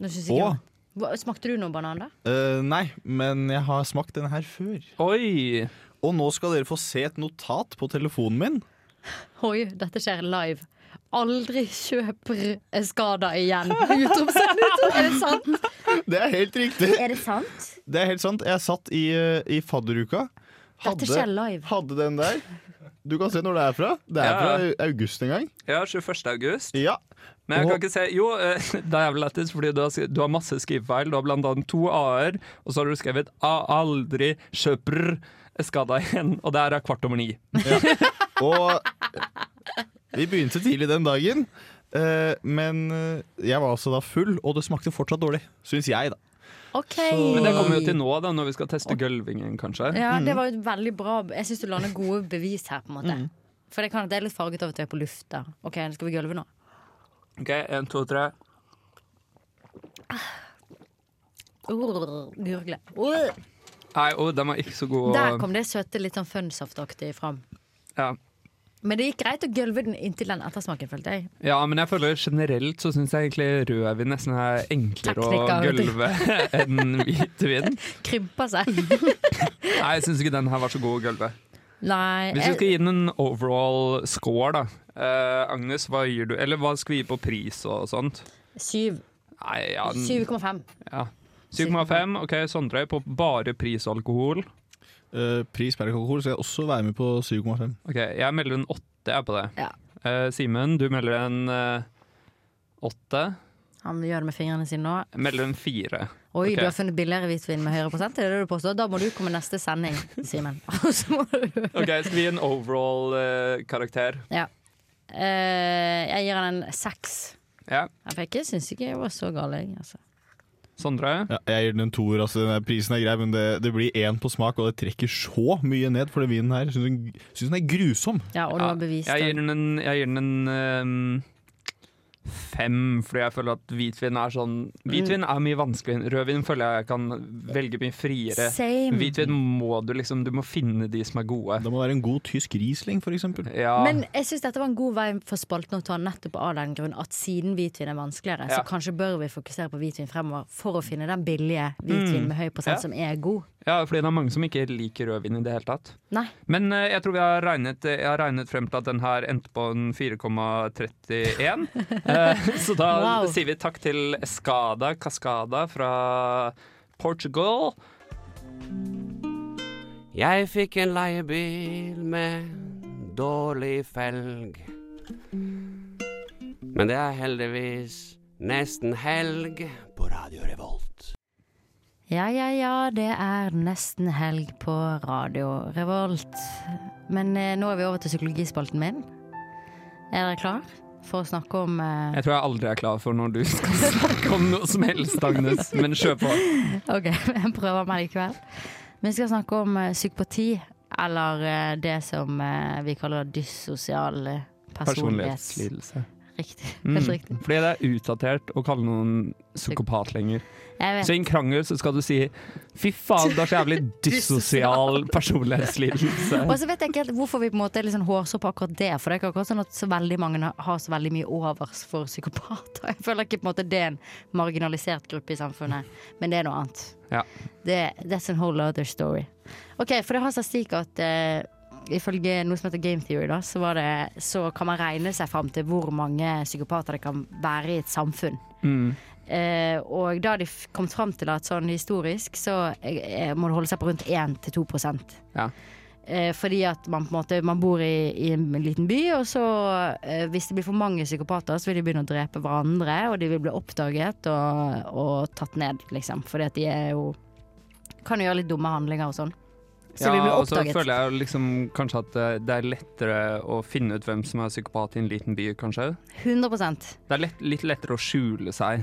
Nå synes ikke
Og
jeg- Hva- Smakte du noe banan, da?
Eh, nei, men jeg har smakt den her før.
Oi!
Og nå skal dere få se et notat på telefonen min.
Oi, dette skjer live. Aldri kjøp Skada igjen! Utropstegn! Er det sant?
Det er helt riktig.
Er det sant?
Det er helt sant. Jeg satt i, eh, i fadderuka.
Dette skjer live.
hadde den der. Du kan se når det er fra. Det er
Ja.
fra august en gang.
Ja, 21. august.
Ja.
Men jeg
Og-
kan ikke se Jo, eh, det er vel lettest, fordi du har, sk- du har masse skrivefeil. Du har blant annet to a-er, og så har du skrevet a aldri kjøper skada igjen, og der er kvart over ni.
Og eh, vi begynte tidlig den dagen. eh, Men eh, jeg var altså da full, og det smakte fortsatt dårlig. Syns jeg, da.
OK.
Men det kommer jo til Mm. nå, da, når vi skal teste gulvingen, kanskje.
Ja, det var jo et veldig bra Jeg syns du lander gode bevis her, på en
Mm.
måte. For det, kan, det er litt farget av at vi er på lufta. OK, skal vi gulve nå?
OK, én, to, tre.
Urr, Gurgle. Urr.
Nei, å, den var ikke så god.
Der kom det søte, litt sånn funsaftaktig fram.
Ja.
Men det gikk greit å gulve den inntil den ettersmaken, følte jeg.
Ja, men jeg føler generelt så syns jeg egentlig rødvin nesten er enklere å
Teknikker, vet du.
gulve enn hvitvin.
Krympa seg.
Nei, jeg syns ikke den her var så god å gulve.
Nei
Hvis du
jeg,
skal gi den en overall score, da. eh, Agnes, hva gir du? Eller hva skal vi gi på pris og sånt?
Syv.
Nei, ja, den-
7,5.
Ja. 7,5. OK, Sondre, på bare pris og alkohol.
Eh, Pris per alkohol skal jeg også være med på 7,5.
Ok, Jeg melder en åtte jeg, på det.
Ja.
Eh, Simen, du melder en eh, åtte.
Han gjør det med fingrene sine nå.
Jeg melder en fire.
Oi,
Ok.
du har funnet billigere hvitvin med høyere prosent? Er det det du påstår? Da må du komme neste sending, Simen. Og så må du
OK, skal vi gi en overall-karakter?
Ja. Eh, jeg gir han en seks.
ja.
Jeg fikk ikke, syns ikke jeg var så gal, jeg. Altså.
Sondre?
Ja, jeg gir den en toer. Altså, den der prisen er grei, men det, det blir én på smak, og det trekker så mye ned for den vinen her. Syns den, synes den er grusom.
Ja, og du har bevis.
Jeg gir den en, jeg gir den en ehm, fem, fordi jeg føler at hvitvin er sånn
Mm.
Hvitvin er mye vanskeligere. Rødvin føler jeg jeg kan velge mye friere.
Same.
Hvitvin må du liksom Du må finne de som er gode.
Det må være en god tysk riesling, f.eks.
Ja.
Men jeg syns dette var en god vei for spalten å ta nettopp av den grunn at siden hvitvin er vanskeligere,
Ja.
så kanskje bør vi fokusere på hvitvin fremover for å finne den billige hvitvin
Mm.
med høy prosent
Ja.
som er god.
ja, fordi det er mange som ikke liker rødvin i det hele tatt.
Nei.
Men eh, jeg tror vi har regnet, eh, jeg har regnet frem til at den her endte på en 4,31. Eh, så da
Wow.
sier vi takk til Escada Cascada fra Portugal.
Jeg fikk en leiebil med dårlig felg. Men det er heldigvis nesten helg på Radio Revolt.
Ja, ja, ja, det er nesten helg på Radio Revolt. Men eh, nå er vi over til psykologispalten min. Er dere klar for å snakke om eh,
Jeg tror jeg aldri er klar for når du skal snakke om noe som helst, Agnes, men kjør på.
Ok, jeg prøver meg likevel. Vi skal snakke om eh, psykopati, eller eh, det som eh, vi kaller dyssosial eh, personlighets...
Personlighetslidelse.
Riktig.
Mm.
Helt riktig.
Fordi det er utdatert å kalle noen psykopat lenger.
Jeg vet.
Så i en krangel så skal du si 'fy faen, du har så jævlig dyssosial personlighetslidelse'.
Og så vet jeg ikke helt hvorfor vi på en måte er litt sånn hårsår på akkurat det. For det er ikke akkurat sånn at så veldig mange har så veldig mye overs for psykopater. Jeg føler ikke på en måte det er en marginalisert gruppe i samfunnet, men det er noe annet.
Ja.
Det, that's a whole other story. Ok, for det har seg slik at eh, ifølge noe som heter game theory, da, så, var det, så kan man regne seg fram til hvor mange psykopater det kan være i et samfunn.
Mm.
Eh, og da har de f- kommet fram til at sånn historisk så eh, må det holde seg på rundt 1-2
Ja.
eh, Fordi at man på en måte Man bor i, i en liten by, og så eh, hvis det blir for mange psykopater, så vil de begynne å drepe hverandre, og de vil bli oppdaget og, og tatt ned, liksom. Fordi at de er jo Kan jo gjøre litt dumme handlinger og sånn. Så de blir
og så
oppdaget.
føler jeg jo liksom kanskje at eh, det er lettere å finne ut hvem som er psykopat i en liten by, kanskje.
100
Det er lett, litt lettere å skjule seg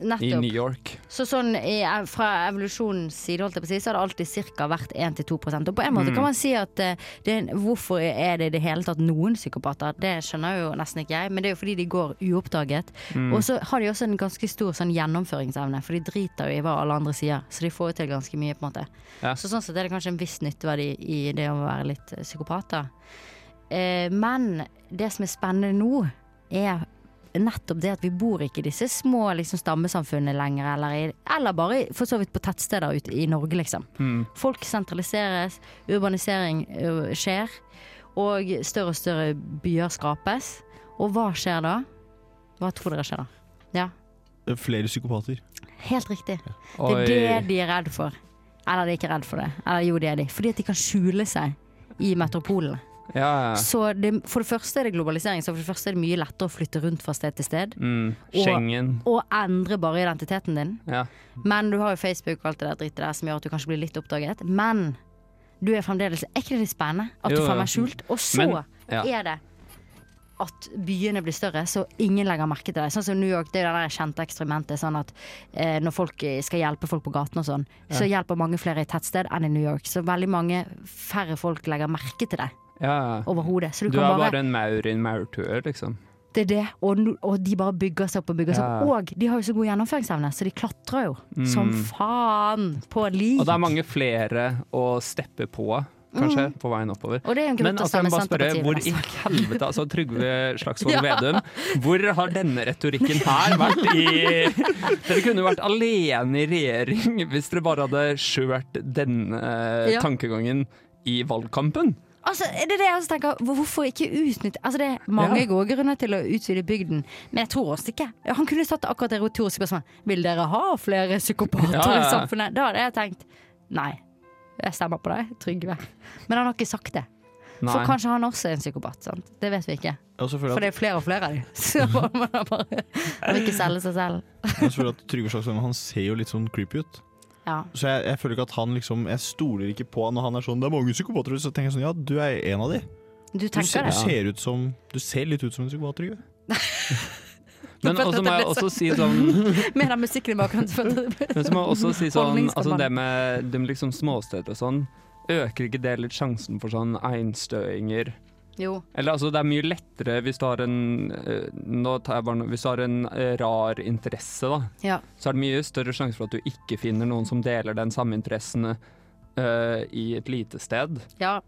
i
Nettopp.
New York.
Så sånn i, fra evolusjonens side holdt jeg på å si, så har det alltid ca. vært 1-2 Og på en måte
Mm.
kan man si at eh, det, er en- hvorfor er det i det hele tatt noen psykopater? Det skjønner jo nesten ikke jeg, men det er jo fordi de går uoppdaget.
Mm.
Og så har de også en ganske stor sånn gjennomføringsevne, for de driter jo i hva alle andre sier. Så de får jo til ganske mye, på en måte.
Ja.
Så sånn sett er det kanskje en viss nytteverdi i det å være litt eh, psykopat, da. Eh, men det som er spennende nå, er nettopp det at vi bor ikke i disse små liksom, stammesamfunnene lenger, eller, i, eller bare for så vidt på tettsteder ute i Norge, liksom.
Mm.
Folk sentraliseres, urbanisering ø, skjer, og større og større byer skrapes. Og hva skjer da? Hva tror dere skjer da? Ja,
Eh, Flere psykopater.
helt riktig. Det
Oi.
er det de er redd for. Eller de er ikke redd for det. Eller jo, det er de. Fordi at de kan skjule seg i metropolene.
Ja,
Så det, for det første er det globalisering, så for det første er det mye lettere å flytte rundt fra sted til sted.
Mm.
Og-
Schengen.
Og endre bare identiteten din.
Ja.
Men du har jo Facebook og alt det der drittet der som gjør at du kanskje blir litt oppdaget. Men du er fremdeles Er ikke det litt spennende? At
Jo,
du
jo.
faen meg er skjult? Og så
Men- ja.
er det at byene blir større, så ingen legger merke til deg. Sånn som New York, det er jo det der kjente eksperimentet. Sånn at eh, når folk eh, skal hjelpe folk på gaten og sånn, så
Ja.
hjelper mange flere i et tettsted enn i New York. Så veldig mange færre folk legger merke til deg
Ja.
overhodet. Så
Du
du,
er
kan
bare,
bare
en maur i en maurtue, liksom.
Det er det, og, no- og de bare bygger seg opp og bygger seg opp.
Ja.
Og de har jo så god gjennomføringsevne, så de klatrer jo
Mm.
som faen på et lik.
Og det er mange flere å steppe på, kanskje,
Mhm.
på veien oppover.
Og det er jo en grunn
Men
til å
altså, jeg må bare
stemme
spørre,
Senterpartiet
hvor i helvete Altså, Trygve Slagsvold Vedum, hvor har denne retorikken her vært i Dere kunne jo vært alene i regjering hvis dere bare hadde skjørt denne eh,
Ja.
tankegangen i valgkampen.
Altså, er det er det jeg også tenker, hvor- hvorfor ikke utnytte Altså, det er mange
Ja.
gode grunner til å utvide bygden, men jeg tror også ikke Han kunne satt akkurat det retoriske spørsmålet Vil dere ha flere psykopater
Ja, ja,
i
ja.
samfunnet? Da hadde jeg tenkt nei, jeg stemmer på deg, Trygve. Men han har ikke sagt det. For
Nei.
kanskje han også er en psykopat. sant? Det vet vi ikke.
Og så føler jeg
For
at-
det er flere og flere av dem. Så man må da bare man må ikke selge seg selv.
Jeg føler at Trygve Slagsvold han ser jo litt sånn creepy ut.
Ja.
Så jeg, jeg føler ikke at han liksom Jeg stoler ikke på han når han er sånn Det er mange psykopater ute, så tenker jeg sånn Ja, du er en av de.
Du
Du
tenker
ser,
det.
du ser ut som Du ser litt ut som en psykopat, Trygve.
Men
følte
også
at
må jeg
jeg ble
også
så-
si sånn
Med den musikken i bakgrunnen. så følte jeg det ble-
Men så må jeg også si sånn altså
Holdningskampanjen.
Det med de liksom småsteder og sånn, øker ikke det litt sjansen for sånn einstøinger?
Jo.
Eller altså, det er mye lettere hvis du har en eh, Nå tar jeg bare noe Hvis du har en eh, rar interesse, da,
Ja.
så er det mye større sjanse for at du ikke finner noen som deler den samme interessen eh, i et lite sted.
ja.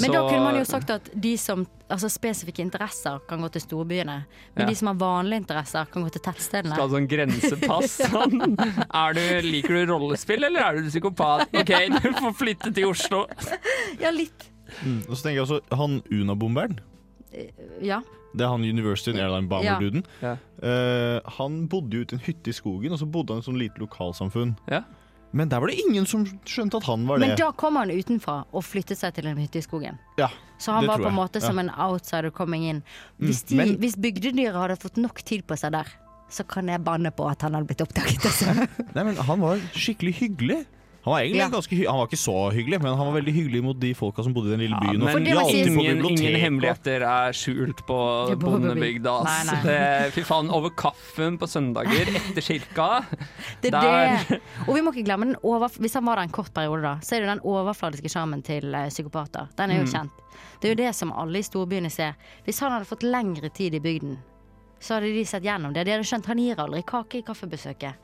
Men da kunne man jo sagt at de som altså spesifikke interesser kan gå til storbyene.
Ja.
Men de som har vanlige interesser, kan gå til tettstedene.
Skal ha sånn grensepass.
Ja.
Sånn. Er du, liker du rollespill, eller er du psykopat? OK, du får flytte til Oslo.
Ja, litt.
Mm. Og så tenker jeg også Han Una-bomberen.
Ja.
Det er han University and Airline Bomber-duden. Eh, han bodde jo ute i en hytte i skogen, og så bodde han i et sånt lite lokalsamfunn. Men der var det ingen som skjønte at han var det.
Men da kom han utenfra og flyttet seg til en hytte i skogen.
ja,
Så han
det
var
tror
på en
jeg.
måte som
Ja.
en outsider coming in.
Mm,
Hvis, de,
men-
hvis bygdedyret hadde fått nok tid på seg der, så kan jeg banne på at han hadde blitt oppdaget. altså.
Nei, men han var skikkelig hyggelig. Han var egentlig
Ja.
ganske hy Han var ikke så hyggelig, men han var veldig hyggelig mot de folka som bodde i den lille byen. og
Men
de alltid på
ingen, ingen
biblioteket.
hemmeligheter er skjult på
Ja, på
bondebygda. ass.
Nei, nei.
Det- Fy faen, over kaffen på søndager etter kirka.
Det
Der-
er det. Og vi må ikke glemme den overf Hvis han var der en kort periode, da, så er det jo den overfladiske sjarmen til eh, psykopater. Den er jo
Mm.
kjent. Det er jo det som alle i storbyene ser. Hvis han hadde fått lengre tid i bygden, så hadde de sett gjennom det. De hadde skjønt han gir aldri kake i kaffebesøket.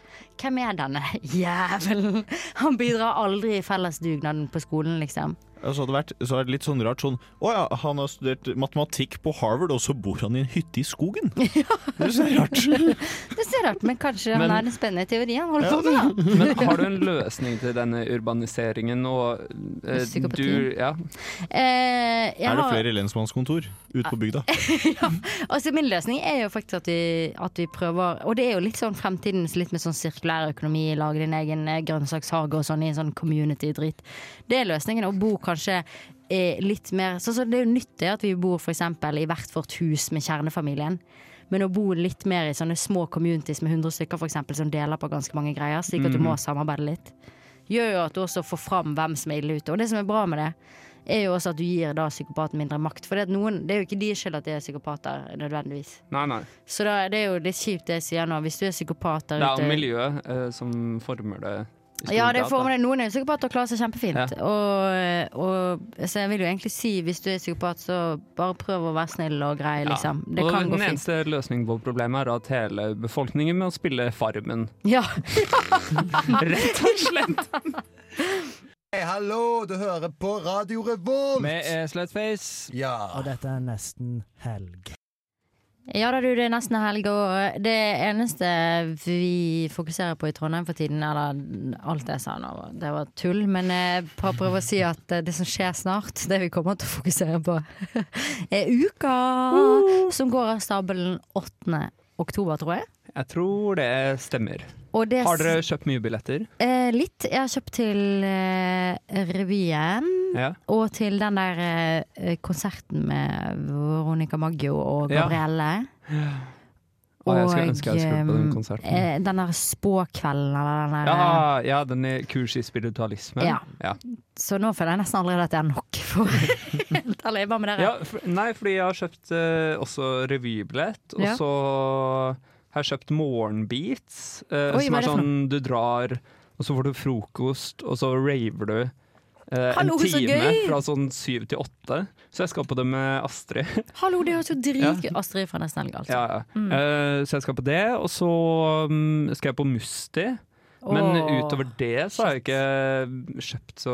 Hvem er denne jævelen? Han bidrar aldri i fellesdugnaden på skolen, liksom.
Ja, Så hadde det vært, så hadde det vært litt sånn rart sånn Å ja, han har studert matematikk på Harvard, og så bor han i en hytte i skogen. Det er så rart.
Det ser rart, men kanskje
Men-
han er en spennende teori han holder
Ja.
på med, da.
Men har du en løsning til denne urbaniseringen og eh,
Psykopatien.
du- Ja.
Eh, jeg
Er det
har-
flere lensmannskontor ute på bygda?
Altså Min løsning er jo faktisk at vi, at vi prøver Og det er jo litt sånn fremtidens litt med sånn sirkulær økonomi, lage din egen eh, grønnsakshage og sånn i en sånn community-drit. Det er løsningen. Å bo kanskje eh, litt mer Sånn som det er jo nytt det at vi bor f.eks. i hvert vårt hus med kjernefamilien. Men å bo litt mer i sånne små communities med 100 stykker for eksempel, som deler på ganske mange greier, slik at du må
Mhm.
samarbeide litt, gjør jo at du også får fram hvem som er ille ute. Og det som er bra med det, er jo også at du gir da psykopaten mindre makt. For det, at noen, det er jo ikke de skyld at de er psykopater, nødvendigvis.
Nei, nei.
Så da, det er jo litt kjipt det jeg sier nå. Hvis du er psykopat
Det
der
er jo
ute
miljøet eh, som former det. i stor
ja, det
grad, da.
får man det. Noen er jo psykopater og klarer seg kjempefint. Og, og, så jeg vil jo egentlig si, hvis du er psykopat, så bare prøv å være snill og grei, liksom. Det
og
kan gå
den
fint.
eneste løsningen på problemet er at hele befolkningen må spille Farmen.
Ja.
Rett og slett.
Hei, hallo! Du hører på Radio Revolt!
Med eh, Slutface.
Ja.
Og dette er nesten helg.
Ja da, du, det er nesten helg, og eh, det eneste vi fokuserer på i Trondheim for tiden, eller alt jeg sa nå, det var tull, men jeg bare prøver å si at eh, det som skjer snart, det vi kommer til å fokusere på, er uka som går av stabelen 8. oktober, tror jeg.
Jeg tror det stemmer.
Og det-
Har dere kjøpt mye billetter?
Eh, litt. Jeg har kjøpt til eh, revyen.
Ja.
Og til den der eh, konserten med Veronica Maggio og
Ja.
Gabrielle.
Å, jeg skulle ønske jeg skulle på den
ehm,
konserten.
eh, den der spåkvelden eller den der
Ja, ja, den er kurs i spiritualisme.
Eh. Ja.
Ja.
Så nå føler jeg nesten allerede at jeg er nok for helt ærlig. Hva med dere?
Ja, for, nei, fordi jeg har kjøpt eh, også revybillett, og
Ja.
så har jeg kjøpt Morgenbeats, eh, som
Oi, hva er
er
det for
sånn du drar, og så får du frokost, og så raver du. eh,
Hallo,
en
så
time
gøy!
fra sånn syv til åtte. Så jeg skal på det med Astrid.
Hallo, det høres jo dritgøy
Ja.
Astrid fra Nesten Helg, altså.
Ja, ja.
Mm.
Eh, så jeg skal på det, og så mm, skal jeg på Musti. Men
Åh,
utover det så har jeg ikke kjøpt så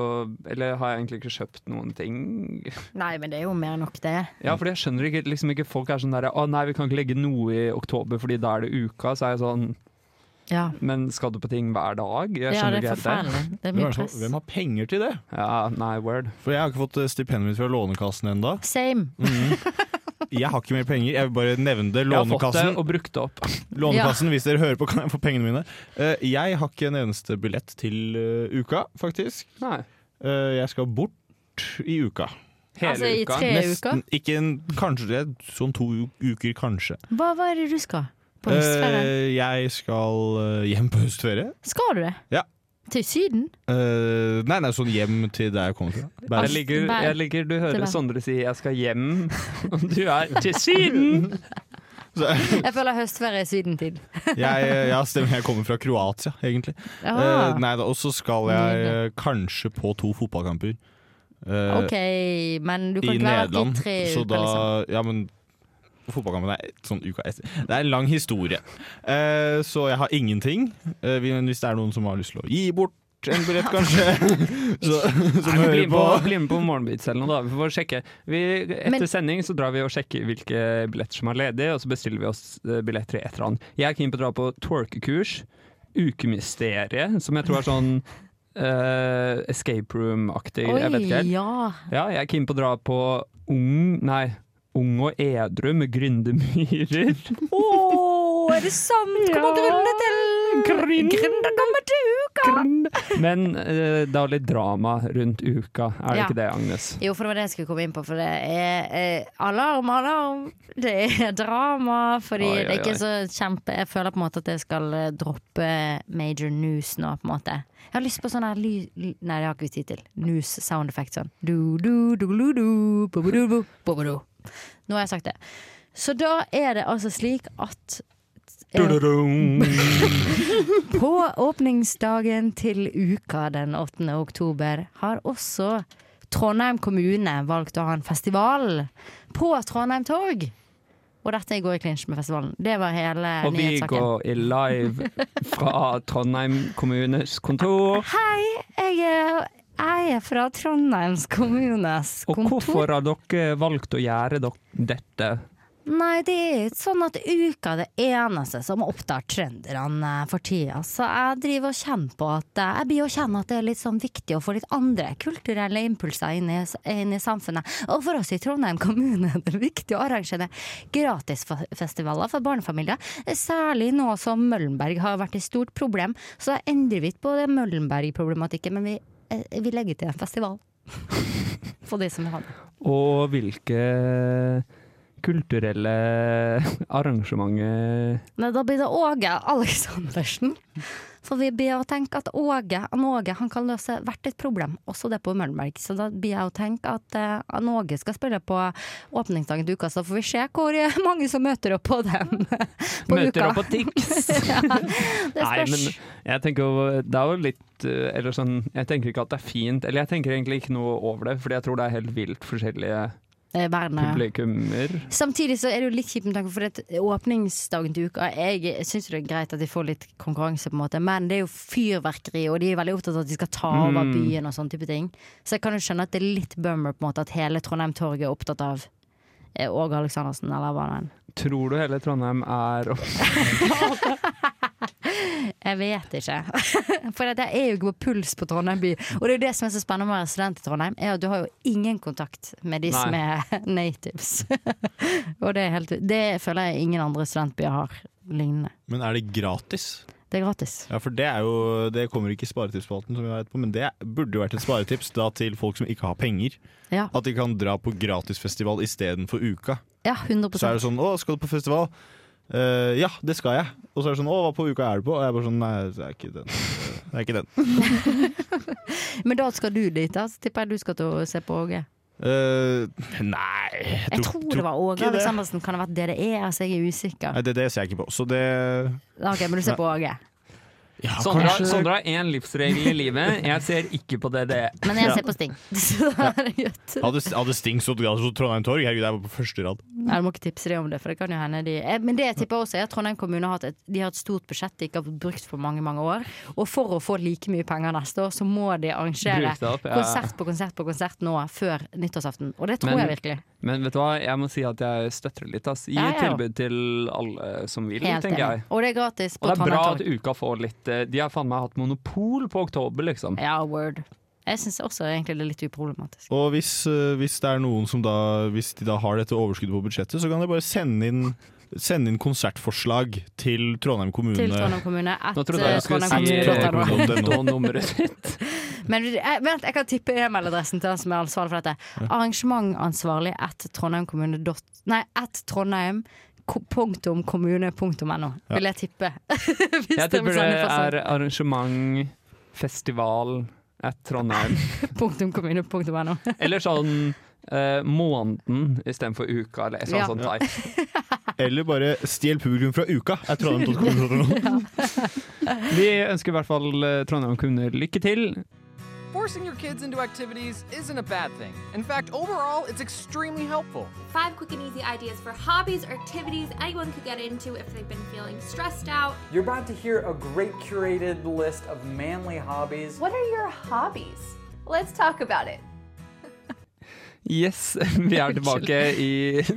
Eller har jeg egentlig ikke kjøpt noen ting.
Nei, men det er jo mer enn nok, det.
Ja, fordi jeg skjønner ikke, liksom ikke folk er sånn der Å nei, vi kan ikke legge noe i oktober fordi da er det uka. Så er jeg sånn
Ja.
Men skal du på ting hver dag? Jeg
Ja,
skjønner
det er
ikke helt
forferdelig. Det er
Hvem,
mye
er det som-
press.
hvem har penger til det?
Ja, nei, word
For jeg har ikke fått eh, stipendet mitt fra Lånekassen ennå.
Same.
Jeg har ikke mer penger, jeg vil bare nevne det.
Jeg har fått det
Lånekassen,
og brukt det opp.
lånekassen hvis dere hører på, kan jeg få pengene mine. Eh, Jeg har ikke en eneste billett til eh, uka, faktisk.
Nei.
Eh, Jeg skal bort i uka.
Hele Altså, i uka? tre
Nesten,
uker?
Ikke en, kanskje det, er sånn to u- uker, kanskje.
Hva, hva er det du skal? På høstferie?
Eh, Jeg skal eh, hjem på høstferie.
Skal du det?
Ja.
Til Syden?
Eh, nei, nei, sånn hjem til der jeg kommer fra. Bergen.
Jeg ligger, jeg ligger, du hører
Til meg.
Sondre si 'jeg skal hjem', og du er til Syden!
Jeg føler høstferie er Syden-tid.
jeg, ja, stemmer. Jeg kommer fra Kroatia, egentlig.
Ah.
Eh, nei da, Og så skal jeg eh, kanskje på to fotballkamper. eh,
Ok, men du kan
I
ikke være vekk i
Nederland.
tre
så
uker,
da
liksom.
Ja, men fotballkampen er et- sånn uka etter. Det er en lang historie. Eh, så jeg har ingenting. Eh, vi- men hvis det er noen som har lyst til å gi bort en billett, kanskje, så, som
Nei, men bli,
hører
med på,
på
bli med på Morgenbeats eller noe, da. Vi får sjekke. Vi, etter
Men-
sending så drar vi og sjekker hvilke billetter som er ledige, og så bestiller vi oss eh, billetter i et eller annet. Jeg er keen på å dra på twerkekurs, Ukemysteriet, som jeg tror er sånn eh, escape room-aktig. Jeg vet ikke helt.
ja.
Ja, jeg er keen på å dra på Ung Nei, Ung og edru med Gründemyrer.
Å, er det sant? Kommer grunne til Grunne kommer til uka!
Men eh, det er litt drama rundt uka, er det
Ja.
ikke det, Agnes?
Jo, for det var det jeg skulle komme inn på, for det er eh, alarm, alarm. Det er drama, fordi
Oi, oi,
det er ikke
oi.
så kjempe Jeg føler på en måte at jeg skal eh, droppe major news nå, på en måte. Jeg har lyst på sånn her ly... ly- Nei, det har ikke vi tid til. News sound effect sånn. Du, du, du, du, du, bo, bo, du, bo, bo, bo, du. Nå har jeg sagt det. Så da er det altså slik at eh, På åpningsdagen til uka den 8. oktober har også Trondheim kommune valgt å ha en festival på Trondheim Torg. Og dette går i klinsj med festivalen. Det var hele
Og vi
nyhetssaken.
går i live fra Trondheim kommunes kontor.
Hei, jeg er, jeg er fra Trondheims kommunes
Og
kontor.
hvorfor har dere valgt å gjøre dok- dette?
Nei, det er ikke sånn at uka er det eneste som opptar trønderne for tida. Så jeg driver og kjenner på at eh, Jeg blir å kjenne at det er litt sånn viktig å få litt andre kulturelle impulser inn i, inn i samfunnet. Og for oss i Trondheim kommune er det viktig å arrangere gratisfestivaler for barnefamilier. Særlig nå som Møllenberg har vært et stort problem, så da endrer vi ikke på det Møllenberg-problematikken, men vi, eh, vi legger til en festival. For de som vil ha det.
Og hvilke kulturelle arrangementer
Nei, da blir det Åge Aleksandersen. For vi blir å tenke at Åge, han Åge han kan løse hvert et problem, også det på Møllenberg. Så da blir jeg å tenke at eh, han Åge skal spille på åpningsdagen til uka, så får vi se hvor eh, mange som møter opp på dem på
Møter
uka.
opp på TIX!
ja, det
Nei,
spørs.
men jeg tenker jo Det er jo litt eh, Eller sånn Jeg tenker ikke at det er fint, eller jeg tenker egentlig ikke noe over det, fordi jeg tror det er helt vilt forskjellige
Eh, verden, ja.
publikummer.
Samtidig så er det jo litt kjipt med tanke på for at åpningsdagen til uka Jeg syns det er greit at de får litt konkurranse, på en måte men det er jo fyrverkeri, og de er veldig opptatt av at de skal ta over
Mm.
byen og sånne type ting. Så jeg kan jo skjønne at det er litt bummer på en måte at hele Trondheim Torg er opptatt av eh, Åge Aleksandersen, eller hva det er.
Tror du hele Trondheim er
Jeg vet ikke. For jeg er jo ikke på puls på Trondheim by. Og det er jo det som er så spennende med å være student i Trondheim, er at du har jo ingen kontakt med de som
Nei.
er natives. Og det, er helt, det føler jeg ingen andre studentbyer har lignende.
Men er det gratis?
Det er gratis.
Ja, for det er jo Det kommer ikke i sparetipsspalten, som vi har etterpå, men det burde jo vært et sparetips da til folk som ikke har penger.
Ja.
At de kan dra på gratisfestival istedenfor uka.
Ja, 100
Så er det sånn 'Å, skal du på festival?' «Eh, ja, det skal jeg. Og så er det sånn 'Å, hva på uka er du på?' Og jeg er bare sånn Nei, det er ikke den. Det er ikke den.
sånn-
Men da skal du dit, da? Så tipper jeg du skal til å se på Åge.
Eh, nei
Jeg tror det var Åge
ikke det.
Aleksandersen. Kan det ha vært DDE? Altså, jeg er usikker.
Nei, det, det ser jeg ikke på. Så det
Ok, men du ser på Åge.
Ja,
Sondre har-
kanskje-
Sondre har én livsregel i livet. Jeg ser ikke på E. DDE.
Men jeg ser på Sting. Så da er det greit.
Hadde, hadde Sting stått gratis på Trondheim Torg? Herregud, jeg var på første rad.
Nei, Du må ikke tipse dem om det, for det kan jo hende de eh, Men det jeg tipper også er at Trondheim kommune har hatt et, de har et stort budsjett de ikke har brukt for mange mange år. Og for å få like mye penger neste år, så må de arrangere
Bruke det opp, ja.
konsert på konsert på konsert nå før nyttårsaften. Og det tror jeg virkelig.
Men vet du hva, jeg må si at jeg støtter litt. Ass. Gi
Ja, ja.
tilbud til alle som vil,
Helt
tenker
enig.
jeg.
Og det er gratis
Og
på
det er bra
Trondheim
at
Torg.
uka får litt eh, De har faen meg hatt monopol på oktober, liksom.
Ja, word. Jeg syns også egentlig det er litt uproblematisk.
Og hvis, eh, hvis det er noen som da Hvis de da har dette overskuddet på budsjettet, så kan de bare sende inn Sende inn konsertforslag til Trondheim kommune.
Til Trondheim kommune. at,
Mm, Nå trodde jeg
eh,
du skulle
Trondheim
si
kommune-
Trondheim kommune.
Og nummeret sitt.
Men jeg, vent, jeg kan tippe e-mailadressen til han som er ansvarlig for dette. Arrangementansvarlig at trondheimkommune dot- Nei, at trondheim ko- punktum kommune punktum no,
Ja.
vil jeg tippe.
Jeg
det blir
tipper det
sånn.
er arrangement, festival at Trondheim.
punktum kommune punktum no.
Eller sånn eh, måneden istedenfor uka, eller sånn,
Ja.
sånn
Ja.
teit.
Eller bare stjel publikum fra uka. Er Trondheim
Vi ønsker i hvert fall eh, Trondheim kommune lykke til.
Forcing your kids into activities isn't a bad thing. In fact, overall, it's extremely helpful.
Five quick and easy ideas for hobbies or activities anyone could get into if they've been feeling stressed out.
You're about to hear a great curated list of manly hobbies.
What are your hobbies? Let's talk about it.
Yes, vi er tilbake i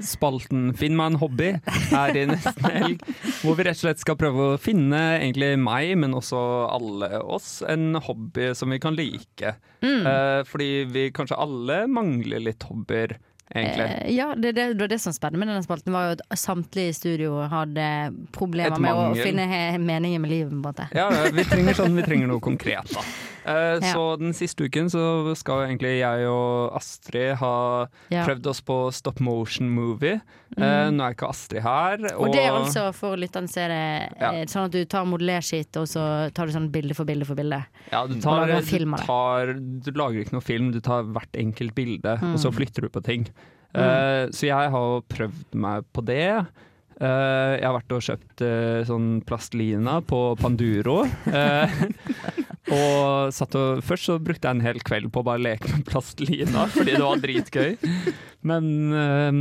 spalten Finn meg en hobby her i nesten helg. Hvor vi rett og slett skal prøve å finne egentlig meg, men også alle oss, en hobby som vi kan like.
Mm.
Eh, fordi vi kanskje alle mangler litt hobbyer, egentlig.
Eh, ja, det, det, det var det som var spennende med denne spalten, var jo at samtlige i studio hadde problemer
Et
med å
mangel.
finne he- meningen med livet, på en måte.
Ja, vi trenger sånn, vi trenger noe konkret, da. Eh,
Ja.
Så den siste uken så skal jo egentlig jeg og Astrid ha
Ja.
prøvd oss på stop motion movie. Eh,
Mm.
Nå er ikke Astrid her.
Og det er altså, for lytterne så er det eh, sånn at du tar modellerskitt, og så tar du sånn bilde for bilde for bilde.
ja, du,
Og
tar,
lager en
du,
film av det.
tar, du lager ikke noe film, du tar hvert enkelt bilde,
Mm.
og så flytter du på ting. Eh, Så jeg har jo prøvd meg på det. Eh, jeg har vært og kjøpt eh, sånn plastlina på Panduro. Eh, og satt og, først så brukte jeg en hel kveld på å bare leke med plastlina, fordi det var dritgøy. Men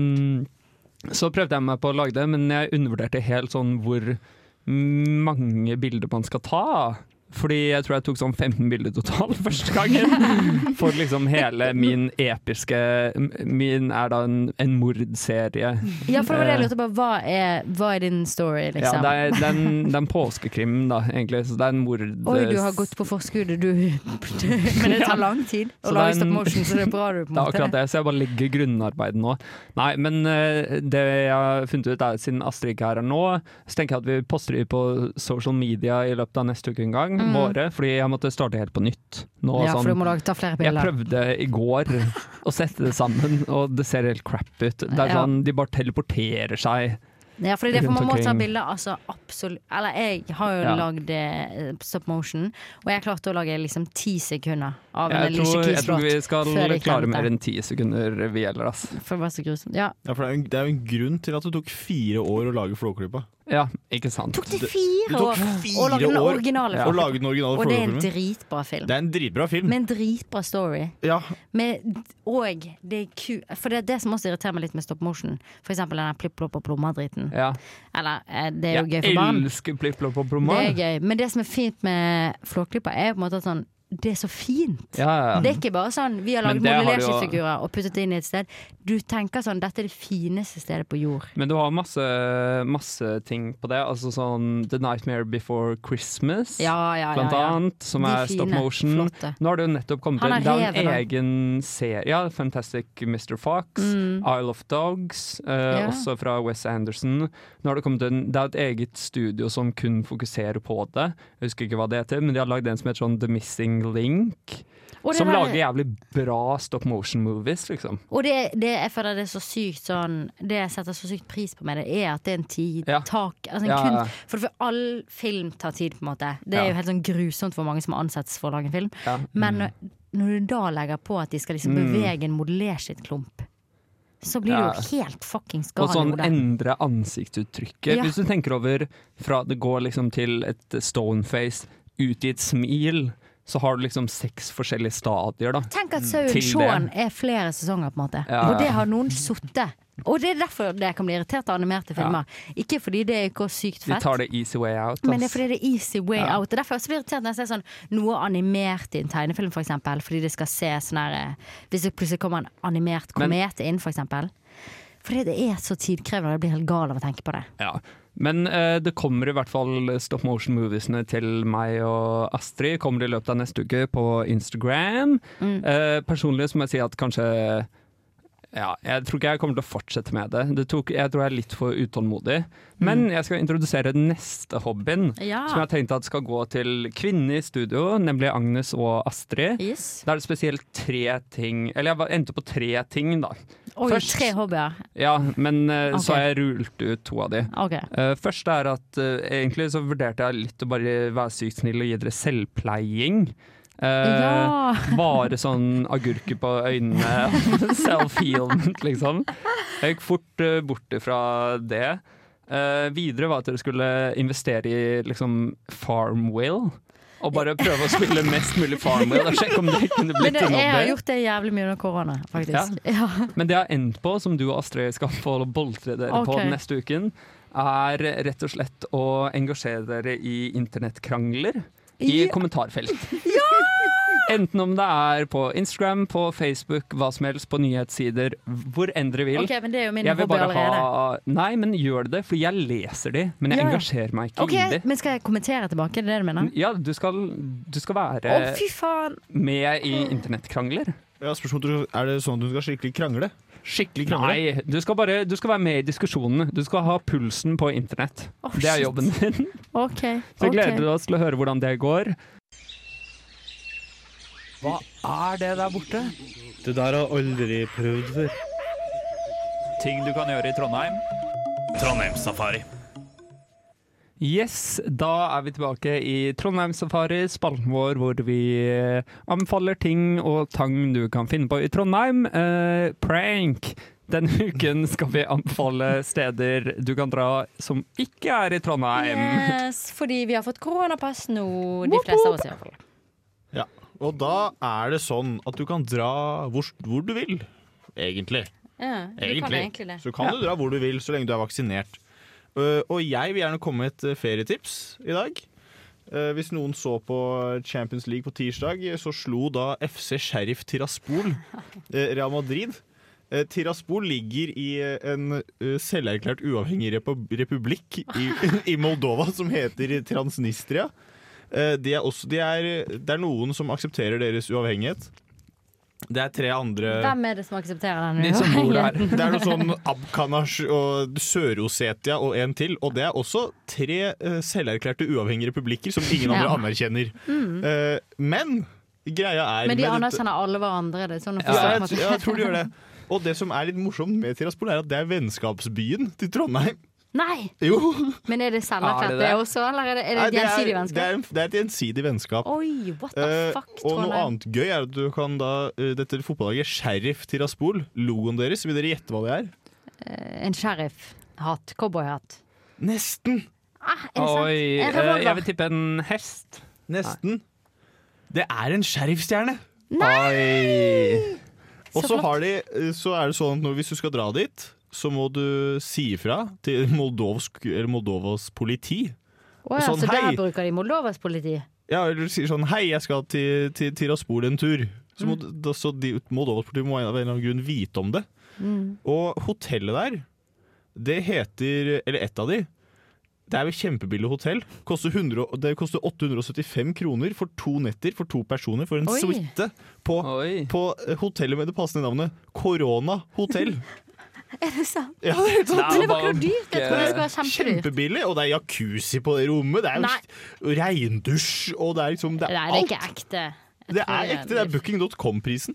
eh, så prøvde jeg meg på å lage det, men jeg undervurderte helt sånn hvor mange bilder man skal ta. Fordi jeg tror jeg tok sånn 15 bilder totalt første gangen. For liksom hele min episke Min er da en, en mordserie.
Ja, for det var det jeg
Eh,
lurte på. Hva er, hva er din story, liksom?
Ja, det er, det er en, det er en påskekrim, da, egentlig. Så det er en mord... eh,
Oi, du har gått på forskuddet, du. Men det tar lang tid å
Så
lage
det er
stop
en-
motion, så det er bra du på en
Det er
måte
akkurat det, så jeg bare legger grunnarbeidet nå. Nei, men eh, det jeg har funnet ut er at siden Astrid ikke er her nå, så tenker jeg at vi poster det på social media i løpet av neste uke en gang,
Mm.
våre, fordi jeg måtte starte helt på nytt. Nå,
Ja, for
sånn-
du må lage- ta flere
Jeg
bilder.
prøvde i går å sette det sammen, og det ser helt crap ut. Det er
Ja.
sånn, de bare teleporterer seg.
Ja, for det er derfor
rundt
man må ta
omkring.
bilder. Altså, absolutt Eller jeg har jo
Ja.
lagd eh, stop motion, og jeg klarte å lage liksom ti sekunder av en
Jeg
lille
tror, jeg tror vi
kislåt
skal
før jeg
klare
glemte.
mer enn ti sekunder, vi gjelder, ass.
For det var så grusomt. Ja.
Ja, for det er jo en- det er jo en grunn til at det tok fire år å lage Flåklypa.
Ja, ikke sant.
Tok det fire
tok
år
fire
å lage den
år
originale
å lage den originale
Og det er en
Flåklypa-filmen.
dritbra film.
Det er en dritbra film.
Med en dritbra story.
Ja.
Med, og det er ku... For det er det som også irriterer meg litt med stop motion. For eksempel den der plipp-plopp og plomma-driten.
Ja.
Eller eh, det er jo
Jeg
gøy for barn.
elsker Plipp Plopp og
Det
Bromar.
er gøy. Men det som er fint med Flåklypa, er jo på en måte at sånn det er så fint.
Ja, ja, ja.
Det er ikke bare sånn vi har
Men
laget
det har du jo-
modellerskifigurer og puttet det inn i et sted. Du tenker sånn dette er det fineste stedet på jord.
Men du har masse, masse ting på det. Altså sånn The Nightmare Before Christmas,
Ja, ja, ja,
blant
ja.
annet, som
De
er
fine,
stop motion.
flotte.
Nå har det jo nettopp kommet
Han
en
har
det er
revet
en
han.
egen serie. Ja, Fantastic Mr. Fox,
Mm.
Isle of Dogs, eh,
Ja.
også fra Wes Anderson. Nå har det kommet en, det er et eget studio som kun fokuserer på det. Jeg husker ikke hva det heter, men de har lagd en som heter sånn The Missing Link.
Og det
Som
der-
lager jævlig bra stop motion movies, liksom.
Og det, det jeg føler det er så sykt sånn Det jeg setter så sykt pris på med det, er at det er en tid tak altså en
Ja, ja, ja.
kunst, For for all film tar tid, på en måte. Det er
Ja.
jo helt sånn grusomt hvor mange som ansettes for å lage en film. Men når, når du da legger på at de skal liksom
Mm.
bevege en modellskittklump, så blir
Ja.
du jo helt fuckings
Og
gal i
sånn
hodet.
endre ansiktsuttrykket.
Ja.
Hvis du tenker over fra det går liksom til et stoneface ut i et smil, så har du liksom seks forskjellige stadier, da.
Tenk at
Mm.
Sauen
Til
Shaun
det.
er flere sesonger, på en måte.
Ja.
Og det har noen sittet. Og det er derfor det kan bli irritert av animerte filmer. Ikke fordi det ikke er sykt
Vi
fett.
tar det easy way out.
Men det er
ass.
fordi det er easy way
Ja.
out. Og derfor er jeg så irritert når jeg ser sånn, noe animert i en tegnefilm, for eksempel, fordi det skal se sånn her eh, Hvis det plutselig kommer en animert
Men-
komet inn, for eksempel. Fordi det er så tidkrevende, og jeg blir helt gal av å tenke på det.
Ja. Men eh, det kommer i hvert fall stop motion-moviesene til meg og Astrid. Kommer i løpet av neste uke på Instagram.
Mm.
Eh, personlig så må jeg si at kanskje ja, Jeg tror ikke jeg kommer til å fortsette med det. det tok, jeg tror jeg er litt for utålmodig. Men
Mm.
jeg skal introdusere den neste hobbyen,
Ja.
som jeg har tenkt at skal gå til kvinnene i studio, nemlig Agnes og Astrid. Da er det spesielt tre ting Eller jeg var- endte på tre ting, da.
Oi, tre hobbyer.
Ja, men eh,
Ok.
så har jeg rult ut to av de.
Ok.
Eh, først er at eh, egentlig så vurderte jeg litt å bare være sykt snill og gi dere selvpleiing. Eh,
Ja.
bare sånn agurker på øynene, self-healment, liksom. Jeg gikk fort eh, bort ifra det. Eh, videre var at dere skulle investere i liksom Farmwill. Og bare prøve å spille mest mulig Farmwill og sjekke om det kunne
Men
blitt
det,
en
jeg har
hobby.
gjort det jævlig mye under korona, faktisk. Ja.
Men det jeg har endt på, som du og Astrid skal få boltre dere på
Ok.
den neste uken, er rett og slett å engasjere dere i internettkrangler i kommentarfelt. Enten om det er på Instagram, på Facebook, hva som helst, på nyhetssider, hvor enn dere vil.
Ok, men det er jo min
jeg vil
hobby
bare ha
allerede.
Nei, men gjør det, for jeg leser de, men jeg
Ja, ja.
engasjerer meg ikke
Ok,
i de.
Men skal jeg kommentere tilbake? Er det det du mener?
Ja, du skal, du skal
Å,
være
fy faen!
med i internettkrangler.
Ja, spørsmålet, om du- Er det sånn at hun skal skikkelig krangle? Skikkelig krangle?
Nei, du skal, bare, du skal være med i diskusjonene. Du skal ha pulsen på internett.
Å,
det er
shit.
jobben din.
OK.
Så
ok.
gleder vi oss til å høre hvordan det går. Hva er det der borte?
Det der har aldri prøvd før.
Ting du kan gjøre i Trondheim. Trondheimssafari.
Yes, da er vi tilbake i Trondheim Safari, spalten vår hvor vi eh, anbefaler ting og tang du kan finne på i Trondheim. Eh, prank! Denne uken skal vi anbefale steder du kan dra som ikke er i Trondheim.
Yes, fordi vi har fått koronapass nå, de fleste av oss i hvert fall.
Ja. Og da er det sånn at du kan dra hvor, hvor du vil, egentlig.
Ja, du kan egentlig det.
Så kan du
Ja.
dra hvor du vil, så lenge du er vaksinert. Uh, og jeg vil gjerne komme med et uh, ferietips i dag. Uh, hvis noen så på Champions League på tirsdag, så slo da FC Sheriff Tiraspol uh, Real Madrid. Uh, Tiraspol ligger i uh, en uh, selverklært uavhengig repub republikk i, i Moldova som heter Transnistria. Uh, de er også, de er, det er noen som aksepterer deres uavhengighet. Det er tre andre
Hvem er det som aksepterer den?
det er noe sånn Abkhanash og Sør-Osetia og en til. Og det er også tre eh, selverklærte uavhengige republikker som ingen andre
Ja.
anerkjenner.
Mm.
Eh, men greia er
Men de
med dette-
anerkjenner alle hverandre. Det er sånn å
ja,
forstå på en
jeg,
måte.
ja, jeg tror de gjør det. Og det som er litt morsomt med Tiraspol, er at det er vennskapsbyen til Trondheim.
Nei!
Jo.
Men er det
Ah, Er
selverklært
det det?
det også, eller er det, er det
Nei,
et gjensidig
Det er,
vennskap?
en- det er et gjensidig vennskap.
Oi, what the
Eh,
fuck,
og noe
Trondheim.
annet gøy er at du kan da eh, Dette fotballaget Sheriff Tiraspol, logoen deres, vil dere gjette hva det er?
Eh, En sheriff-hatt. Cowboyhatt.
Nesten!
Ah, er det sant?
Oi,
En
eh,
revolver.
jeg vil tippe en hest.
Nesten. Det er en sheriffstjerne!
Nei!
Og
Så
så,
flott.
har de, så er det sånn at når, hvis du skal dra dit, så må du si ifra til Moldovsk, eller Moldovas politi.
Å ja,
sånn,
så
hei.
der bruker de Moldovas politi?
Ja, eller du sier sånn Hei, jeg skal til, til, til Raspol en tur. Så
Mm.
må, da, så de, Moldova-partiet må av en eller annen grunn vite om det.
Mm.
Og hotellet der, det heter Eller ett av de. Det er jo kjempebillig hotell. Koster 100, og- det koster 875 kroner for to netter for to personer for en
Oi.
suite på, på eh, hotellet med det passende navnet Korona hotell.
Er det sant?
Ja, det er helt sant.
Men det var ikke noe dyrt. Jeg trodde det skulle være kjempedyrt.
Kjempebillig, og det er jacuzzi på det rommet. Det er jo regndusj, og det er liksom det er
Nei, det er
alt.
ikke ekte. Jeg
Det
tror
er ekte. Det er booking.com-prisen.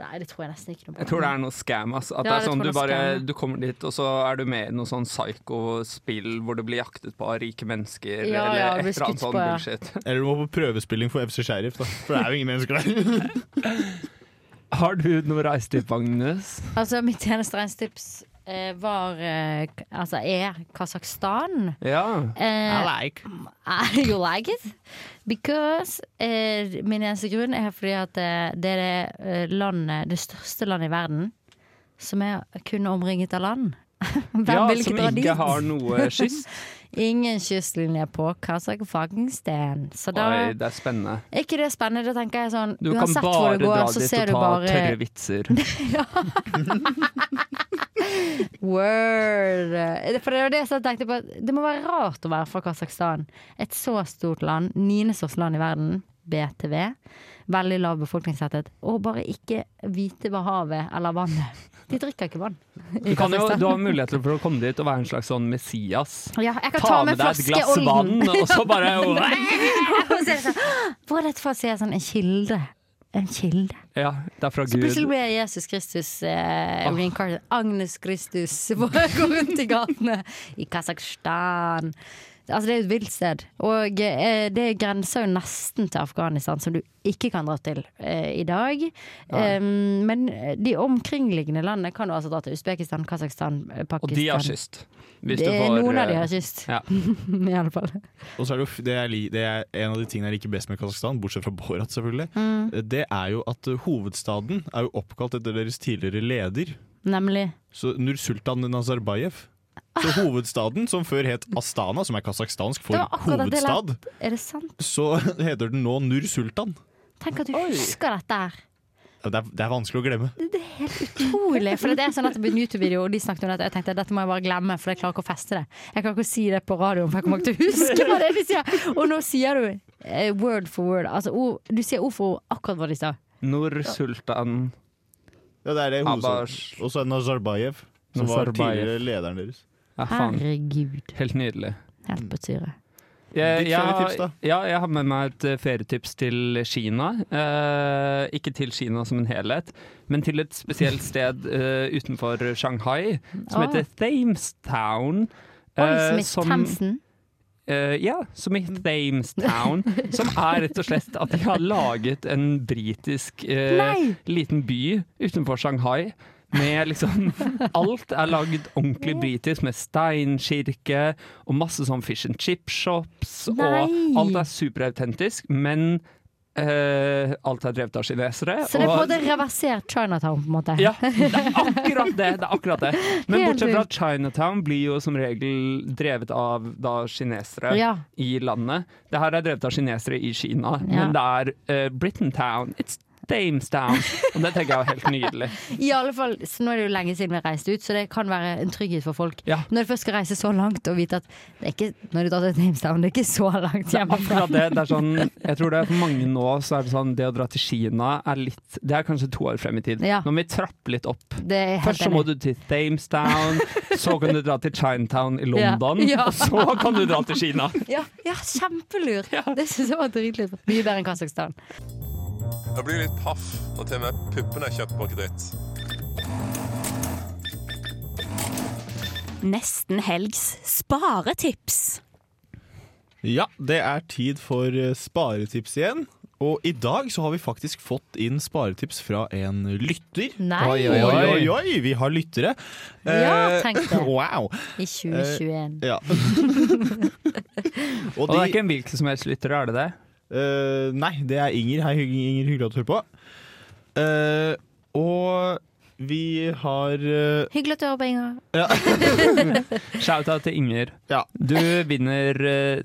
Nei, det tror jeg nesten ikke noe på.
Jeg tror det er noe scam. ass. At
Ja,
det er
jeg
sånn
tror
du
det er
bare
scam.
du kommer dit, og så er du med i noe sånn psycho-spill hvor du blir jaktet på av rike mennesker
Ja,
eller
ja,
et eller
blir
annet
skutt
sånn
på, ja.
bullshit.
Eller du må på prøvespilling for FC Sheriff, da. For det er jo ingen mennesker der.
Har du noe reisetipp, Agnes?
Altså, mitt eneste regnstips eh, var eh, k- Altså er Kasakhstan.
Ja.
Eh,
I like.
I- you like it? Because eh, Min eneste grunn er fordi at eh, det er det eh, landet, det største landet i verden, som er kun omringet av land. Hvem
Ja,
vil ikke
som
dra
ikke
dit?
har noe kyst.
Ingen kystlinje på Kasakhstan. Så da
Oi, det er spennende.
er ikke det spennende? Da tenker jeg sånn
Du kan
Uansett hvor
bare
du går,
dra
så
dit og
ser du
ta
bare
tørre vitser.
Word. Eh, For det var det som jeg tenkte på. Det må være rart å være fra Kasakhstan. Et så stort land. Niende største land i verden. BTV. Veldig lav befolkningstetthet. Og bare ikke vite hva havet eller vannet De drikker ikke vann.
Du, kan jo, du har muligheter for å komme dit og være en slags sånn Messias.
Ja, jeg kan ta,
Ta
med
med deg et
flaske
glass
Olden.
vann, og så bare-
Og så er det sånn, Hvor er dette fra? Så er jeg sånn En kilde. En kilde.
Ja, det er fra
Så plutselig
Gud.
ble jeg Jesus Kristus eh,
Ah.
reincarnated. Agnes Kristus bare går rundt i gatene i Kasakhstan. Altså, det er jo et vilt sted. Og eh, det grenser jo nesten til Afghanistan, som du ikke kan dra til eh, i dag.
Nei.
Um, men de omkringliggende landene kan du altså dra til. Usbekistan, Kasakhstan, eh,
Og
Pakistan.
de har kyst. Hvis
Det
du
er
får,
noen av de
eh,
har kyst.
Ja.
I alle fall.
Og så er det, jo f- det, er, li- det er en av de tingene jeg liker best med Kasakhstan, bortsett fra Borat, selvfølgelig.
Mm.
Det er jo at eh, hovedstaden er jo oppkalt etter deres tidligere leder,
Nemlig.
så Nursultan Nazarbayev. Så hovedstaden, som før het Astana, som er kasakhstansk for
Det var akkurat det jeg la-
hovedstad,
Er det sant?
så heter den nå Nursultan.
Tenk at du husker dette her.
Ja, Det er, det er vanskelig å glemme.
Mm. utrolig. For det er sånn at det blir en YouTube-video, og de snakket om dette. Og jeg tenkte dette må jeg bare glemme, for jeg klarer ikke å feste det. Jeg klarer ikke å si det på radioen, for jeg kommer ikke til å huske hva det er de sier. Og nå sier du eh, word for word. Altså, ord, du sier ord for ord akkurat hva de sa.
Nord-Sultan
Ja, det er det i hovedstaden.
Abbas.
Og så er det Nazarbayev, som var
Nazarbayev.
tidligere lederen deres.
Ja, faen.
Herregud.
Helt nydelig.
Helt på syre.
Jeg,
Ditt
jeg,
ferietips, da?
har- ja, jeg har med meg et eh, ferietips til Kina. Eh, ikke til Kina som en helhet, men til et spesielt sted eh, utenfor Shanghai som
Ah.
heter Thamestown.
Oi,
eh,
Smith Thamsen.
Eh, ja, som i Thamestown. Som er rett og slett at de har laget en britisk eh,
Nei!
liten by utenfor Shanghai. Med liksom Alt er lagd ordentlig britisk, med steinkirke og masse sånn fish and chip-shops. Og
Nei!
alt er superautentisk, men eh, alt er drevet av kinesere.
Så det er på en
og-
måte reversert Chinatown, på en måte.
ja, det er akkurat det. det, er akkurat det. Men
Helt
bortsett fra at Chinatown blir jo som regel drevet av da, kinesere
Ja.
i landet. Det her er drevet av kinesere i Kina,
Ja.
men det er eh, Britaintown. It's Damestown. Og det tenker jeg er helt nydelig.
I alle fall, så Nå er det jo lenge siden vi reiste ut, så det kan være en trygghet for folk. Når du først skal reise så langt og vite at det er ikke, når du drar til Thamstown, det er ikke så langt
Det er
hjemmefra.
akkurat det. det er sånn, jeg tror det er for mange nå så er det sånn det å dra til Kina er litt Det er kanskje to år frem i tid.
Ja.
Nå må vi trappe litt opp.
Det er jeg helt
Først så må
enig i.
du til Damestown, så kan du dra til Chinatown i London,
Ja. Ja.
og så kan du dra til Kina.
Ja, ja kjempelurt! Det syns jeg var dritlurt. Mye bedre enn Kasakhstan.
Jeg blir litt paff når til og med puppene er kjøpt på kreditt.
Nesten helgs sparetips.
Ja, det er tid for eh, sparetips igjen. Og i dag så har vi faktisk fått inn sparetips fra en lytter.
Nei.
Oi, oi, oi, oi, oi. Vi har lyttere.
Ja,
Eh,
tenk det.
Wow.
I 2021.
Eh, ja.
Og det er ikke en hvilken som helst lytter, er det det?
eh, nei, det er Inger. Hei, Hygg- Inger. Hyggelig at du hører på. Eh, og vi har eh,
Hyggelig at du hører på, Inger.
ja.
Shout-out til Inger. Du vinner eh,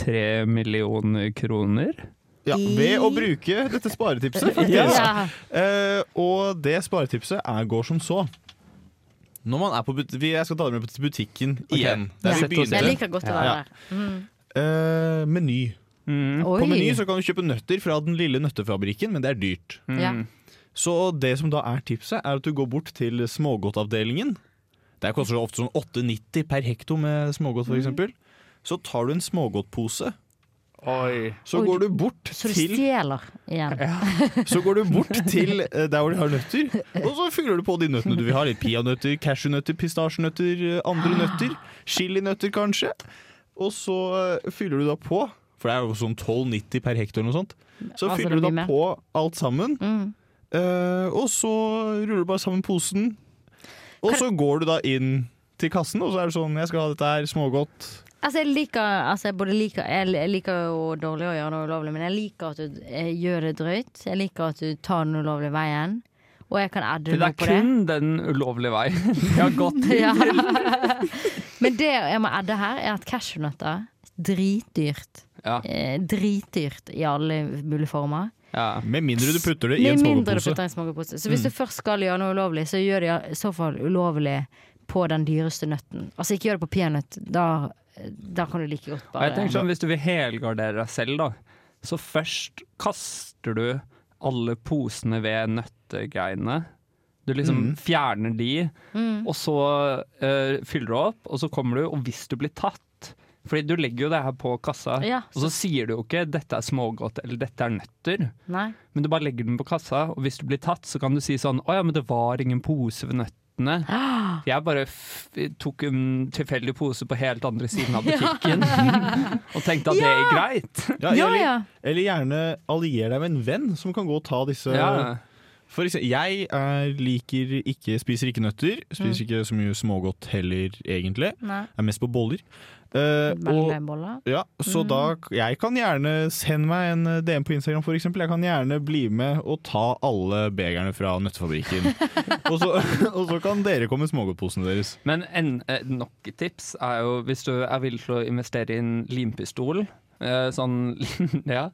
tre millioner kroner.
Ja, ved å bruke dette sparetipset, faktisk.
Ja.
Eh, og det sparetipset er, går som så. Når man er på but vi- Jeg skal ta dere med til butikken igjen. Der vi begynte.
Jeg liker godt å være
Ja.
der. Mm.
Eh, meny. På
Mm.
Oi.
Meny så kan du kjøpe nøtter fra den lille nøttefabrikken, men det er dyrt.
Ja.
Så det som da er tipset, er at du går bort til smågodtavdelingen. Det koster ofte sånn 8,90 per hekto med smågodt,
Mm.
f.eks. Så tar du en smågodtpose. Så
Oi.
går du bort
Så du
til
stjeler igjen.
så går du bort til eh, der hvor de har nøtter, og så fyller du på de nøttene du vil ha. Litt peanøtter, cashewnøtter, pistasjenøtter, eh, andre nøtter. Chilinøtter, kanskje. Og så eh, fyller du da på, for det er jo sånn 12,90 per hektar eller noe sånt. Så
Altså,
fyller
det
du
blir
da
mer. Mm.
på alt sammen, eh, og så ruller du bare sammen posen. Og så går du da inn til kassen, og så er det sånn 'Jeg skal ha dette her, smågodt'.
Altså, jeg liker, altså, jeg både liker Jeg jeg liker jo dårlig å gjøre noe ulovlig, men jeg liker at du eh, gjør det drøyt. Jeg liker at du tar den ulovlige veien, og jeg kan adde
For det
noe
er
på det.
kun den ulovlige veien de har gått.
Ja. Men det jeg må adde her, er at cashewnøtter Dritdyrt.
Ja.
Eh, dritdyrt i alle mulige former.
Med mindre du putter det i en
Med mindre du
smågodtpose.
putter i en smågodtpose. Så hvis
Mm.
du først skal gjøre noe ulovlig, så gjør det i så fall ulovlig på den dyreste nøtten. Altså ikke gjør det på peanøtt. Da, da kan du like godt
Og
bare
jeg tenker sånn, Hvis du vil helgardere deg selv, da, så først kaster du alle posene ved nøttegreiene. Du liksom
Mm.
fjerner de,
Mm.
og så eh, fyller du opp, og så kommer du, og hvis du blir tatt fordi du legger jo det her på kassa,
Ja,
og så sier du jo ikke 'dette er smågodt' eller 'dette er nøtter'.
Nei.
Men du bare legger den på kassa, og hvis du blir tatt, så kan du si sånn 'Å ja, men det var ingen pose ved nøttene'. Jeg bare f tok en tilfeldig pose på helt andre siden av butikken og tenkte at det er greit.
Ja, eller, eller gjerne allier deg med en venn som kan gå og ta disse
Ja.
For eksempel, jeg er, liker ikke, spiser ikke nøtter. Spiser ikke så mye smågodt heller, egentlig.
Mm. Nei.
Er mest på boller. Eh, og-
boller.
ja, så
Mm.
da Jeg kan gjerne sende meg en DM på Instagram, for eksempel. Jeg kan gjerne bli med og ta alle begerne fra nøttefabrikken. og, så, og så kan dere komme med smågodtposene deres.
Men en, eh, nok et tips er jo hvis du er villig til å investere i en limpistol, eh, sånn ja,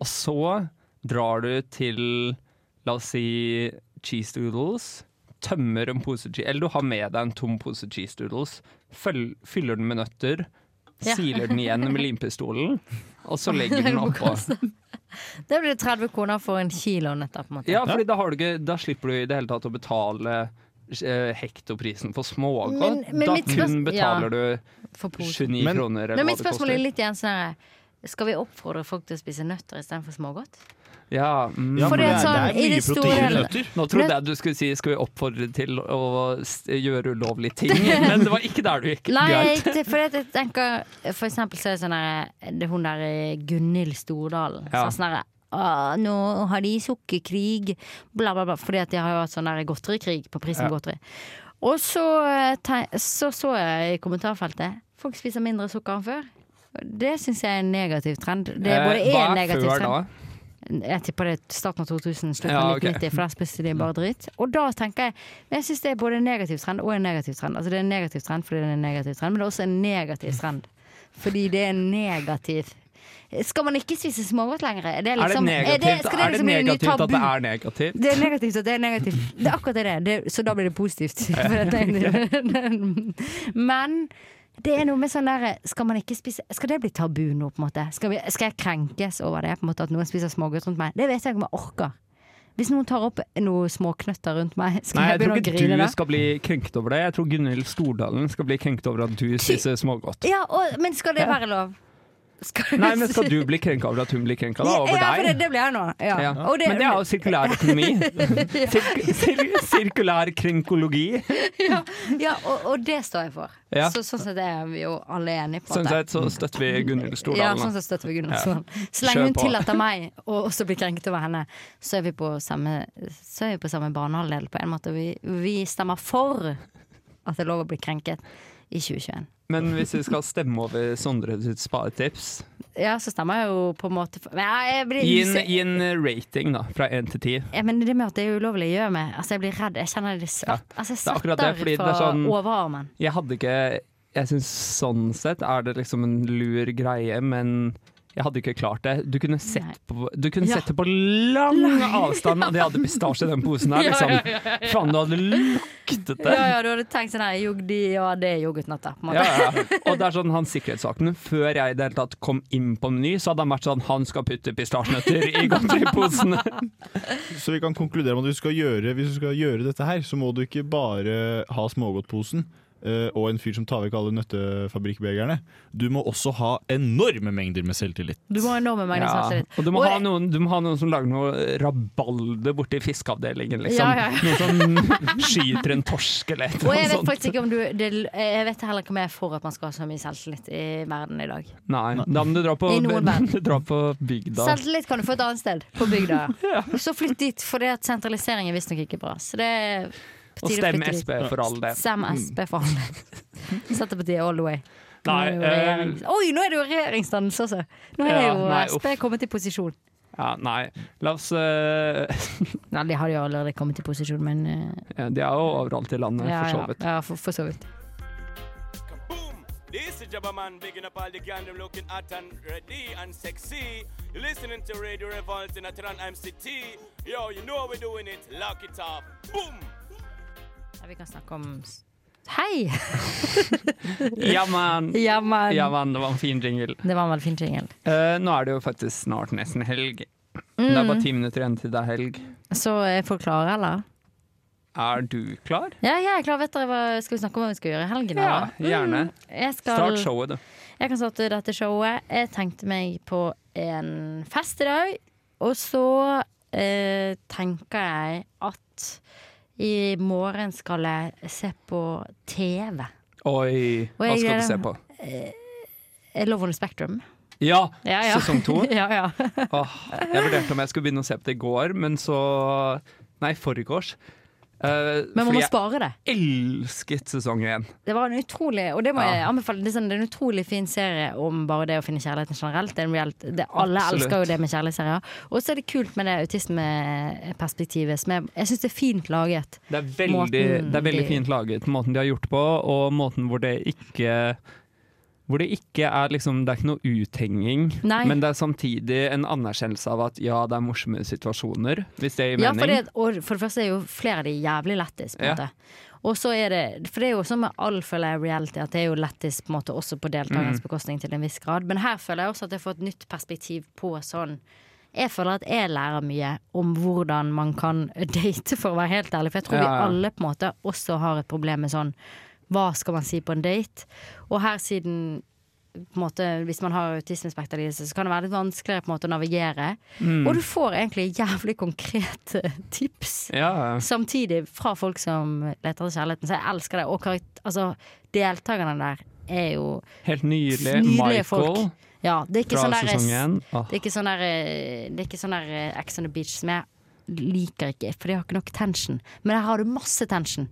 og så drar du til, la oss si, cheese doodles, tømmer en pose cheese, eller du har med deg en tom pose cheese doodles, føl, fyller den med nøtter,
Ja.
siler den igjen med limpistolen, og så legger den oppå.
Det blir 30 kroner for en kilo nøtter, på en måte.
Ja, fordi da, har du ikke, da slipper du i det hele tatt å betale eh, hektoprisen for smågodt.
Men- men
Da
mitt
kun
spørs- ja.
betaler
For
du 29
Men-
kroner. eller hva
Men mitt
det koster.
spørsmål er litt igjen sånn her Skal vi oppfordre folk til å spise nøtter istedenfor smågodt?
Ja, mm.
Ja, for Fordi det er- at sånn, det er i mye det store- protein i nøtter.
Nå trodde jeg du skulle si skal vi oppfordre til å s- gjøre ulovlige ting, men det var ikke der du gikk.
Nei,
Greit.
for jeg tenker For eksempel så er det sånn her det er Hun der eh, Gunhild Stordalen
Ja.
sa sånn her «Å, nå har de sukkerkrig, bla, bla, bla. Fordi at de har jo hatt sånn der godterikrig på prisen
Ja.
på godteri. Og så, eh, te- så så jeg i kommentarfeltet folk spiser mindre sukker enn før. Det syns jeg er en negativ trend. Det er både
Eh, hva
én
er
negativ
før
trend.
da?
Jeg tipper det er starten av 2000, slutten
Ja,
av
ok.
1990, for der spiste de bare dritt. Og da tenker jeg Men jeg syns det er både en negativ trend og en negativ trend. Altså det er en negativ trend fordi det er en negativ trend, men det er også en
Mm.
negativ trend fordi det er negativ. Skal man ikke spise smågodt lenger? Er det, liksom,
er det negativt,
skal
er det
liksom bli en ny
negativt at det
tabu?
er negativt?
Det er negativt at det er negativt. Det er akkurat det det. er. det så da blir det positivt.
Ja.
For det er Men det er noe med sånn der Skal man ikke spise Skal det bli tabu nå, på en måte? Skal, vi, skal jeg krenkes over det? På en måte At noen spiser smågodt rundt meg? Det vet jeg ikke om jeg orker. Hvis noen tar opp noen småknøtter rundt meg, skal
Nei, jeg
jeg
tror
begynne å grine
ikke du
da?
skal bli krenket over det. Jeg tror Gunhild Stordalen skal bli krenket over at du spiser smågodt.
Ja, og, men skal det være lov? Skal
Nei, men skal du bli krenket over at hun blir krenket da, over
ja, for det,
deg?
det blir jeg nå. Ja.
Ja.
Og
Men det er jo sirkulær økonomi. Sirk- sir- Sirkulær krenkologi.
ja, ja og, og det står jeg for.
Ja.
Så, sånn sett er vi jo alle enige. på en
Sånn
måte.
sett så støtter vi Gunhild
Ja,
Stordalen. da.
sånn som støtter vi Gunnar
Ja.
Stordalen. Så lenge
Kjør
hun
på.
tillater meg å også bli krenket over henne, så er vi på samme, så er vi på samme banehalvdel på en måte. Vi, vi stemmer for at det er lov å bli krenket i 2021.
Men hvis vi skal stemme over Sondre sitt sparetips
Ja, så stemmer jeg jo på en måte for Men ja, jeg blir
Gi en, gi en rating, da, fra én til ti.
ja, men det med at det er ulovlig, gjør meg Altså, jeg blir redd. Jeg kjenner det svett. Altså, jeg
Det er akkurat det,
svetter
fordi det er
fra
sånn-
overarmen.
Jeg hadde ikke jeg syns sånn sett er det liksom en lur greie, men jeg hadde ikke klart det. Du kunne sett, på, du kunne
Ja.
sett det på lang,
Lang,
avstand, og de hadde pistasje i den posen her,
Ja,
liksom.
ja, ja, ja, ja.
Faen, du hadde luktet det.
Ja, ja, du hadde tenkt sånn her jog- de- Ja, det er yoghurtnatter. på en måte.
Ja, ja. Og det er sånn han sikkerhetsvakten Før jeg i det hele tatt kom inn på Meny, så hadde han vært sånn Han skal putte pistasjenøtter i godteriposene.
Så vi kan konkludere med at du skal gjøre, hvis du skal gjøre dette her, så må du ikke bare ha smågodtposen eh, og en fyr som tar vekk alle nøttefabrikkbegerne. Du må også ha enorme mengder med selvtillit.
Du må ha enorme mengder
Ja,
selvtillit.
Og du må,
Og-
ha noen, du må ha noen som lager noe rabalder borti fiskeavdelingen, liksom.
Ja, ja, ja.
Noen som skyter en torsk eller et
Og
eller
jeg
annet
vet
sånt.
faktisk ikke om du det, Jeg vet heller ikke om jeg er for at man skal ha så mye selvtillit i verden i dag.
Nei, da må du dra på,
I noen verden.
du dra på bygda.
Selvtillit kan du få et annet sted, på bygda. Så flytt dit, for det at sentralisering er visstnok ikke bra. Så det er på
Og
tide å
stem
flytte dit.
SP for all del.
Stem SP for all del. Senterpartiet all the way. Nå
Nei,
er det jo
eh,
regjerings- Oi, nå er det jo regjeringsdannelse også! Nå er
Ja,
jo
nei,
SP kommet i posisjon.
Ja, nei, la oss eh,
Nei, de har jo allerede kommet i posisjon, men eh,
ja, De er jo overalt i landet,
ja,
for så
ja,
vidt.
ja, for, for så vidt.
This is Jabba Man bigging up all the gandam looking hot and ready and sexy. You're listening to Radio Revolt in Atran MCT. Yo, you know we're doing it. Lock it up. Boom!
Ja, vi kan snakke om s- Hei!
Ja, men.
Ja, men.
Ja, men, det var en fin jingle.
Det var en veldig fin jingle.
Eh, nå er det jo faktisk snart nesten helg. Det er
Mm.
bare ti minutter igjen til det er helg.
Så er folk klare, eller?
Er du klar?
Ja, jeg er klar. Vet dere hva skal vi snakke om hva vi skal gjøre i helgen?
Ja,
eller?
gjerne.
Mm, jeg skal,
Start showet, du.
Jeg kan starte dette showet. Jeg tenkte meg på en fest i dag. Og så eh, tenker jeg at i morgen skal jeg se på TV.
Oi,
Og
hva
jeg
skal
gleder
du se på?
Eh, Love on the Spectrum.
Ja,
Ja, ja.
sesong to.
ja, ja.
Åh, jeg vurderte om jeg skulle begynne å se på det i går, men så Nei, forgårs. Uh,
Men man må spare det.
Elsket sesong én.
Det var en utrolig Og det må
Ja.
jeg anbefale. Det er, sånn, det er en utrolig fin serie om bare det å finne kjærligheten generelt. Det er en realt, det, alle
Absolutt.
elsker jo det med kjærlighetsserier. Og så er det kult med det autismeperspektivet. Som jeg jeg syns det er fint laget.
Det er veldig,
Måten
det er veldig
de-
fint laget, måten de har gjort det på, og måten hvor det ikke hvor det ikke er liksom, det er ikke noe uthenging,
Nei.
men det er samtidig en anerkjennelse av at ja, det er morsomme situasjoner, hvis det gir
Ja, for
mening.
det, og for det første er jo flere av de jævlig lættis, på en
Ja.
måte. Og så er det, For det er jo sånn med all føler jeg reality, at det er jo lættis på en måte også på deltakernes
Mm.
bekostning til en viss grad. Men her føler jeg også at jeg får et nytt perspektiv på sånn Jeg føler at jeg lærer mye om hvordan man kan date, for å være helt ærlig. For jeg tror
Ja, ja.
vi alle på en måte også har et problem med sånn Hva skal man si på en date? Og her siden på en måte, hvis man har autismespekterlidelse, så kan det være litt vanskeligere på en måte å navigere.
Mm.
Og du får egentlig jævlig konkrete tips
Ja.
samtidig fra folk som leter etter kjærligheten. Så jeg elsker det. Og karakt- altså, deltakerne der er jo
Helt nylig,
nydelige
Michael
folk. Ja, det er ikke
fra
sånn der,
sesong én. Åh.
Det er ikke sånn der, eh, det er ikke sånn der eh, Ex on the Beach som jeg liker ikke, for de har ikke nok tension. Men her har du masse tension.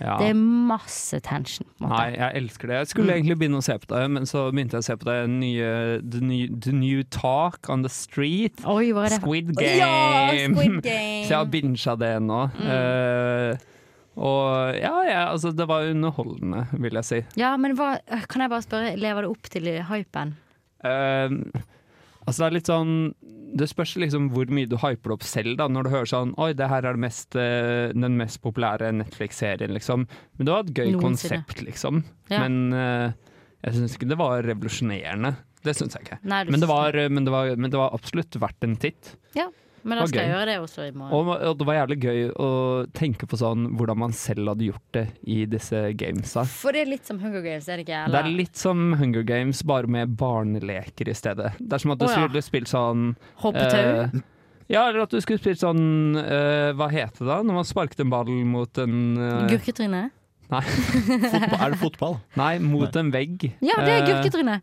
Ja.
Det er Mm. masse tension. på en måte.
Nei, jeg elsker det. Jeg skulle egentlig begynne å se på det, men så begynte jeg å se på det nye The New, the new Talk on the Street.
Oi, hva er det for-
Squid
Ja,
Game!
Squid Game.
så jeg har bincha det nå.
Mm.
Eh, og ja, ja, altså det var underholdende, vil jeg si.
Ja, men hva, eh, kan jeg bare spørre, lever det opp til hypen?
Eh, altså det er litt sånn Det spørs liksom hvor mye du hyper det opp selv da, når du hører sånn Oi, det her er det mest, eh, den mest populære Netflix-serien, liksom. Men det var et gøy
Noensinne.
konsept, liksom.
Ja.
Men eh, jeg syns ikke det var revolusjonerende. Det syns jeg ikke.
Nei, du
men, det
syns
var, eh, men, det var, men det var absolutt verdt en titt.
Ja, men
Det var
da skal jeg
gøy.
gjøre det også i morgen.
Og, og det var jævlig gøy å tenke på sånn hvordan man selv hadde gjort det i disse gamesa.
For det er litt som Hunger Games, er det ikke?
Det er litt som Hunger Games, bare med barneleker i stedet. Det er som at du
Å, ja.
skulle spilt sånn
Hoppetau?
eh, ja, eller at du skulle spilt sånn eh, Hva heter det da, når man sparket en ball mot en eh,
Gurketryne?
Nei.
Er det fotball?
Nei, mot en vegg.
Ja, det er
Eh,
gurketryne!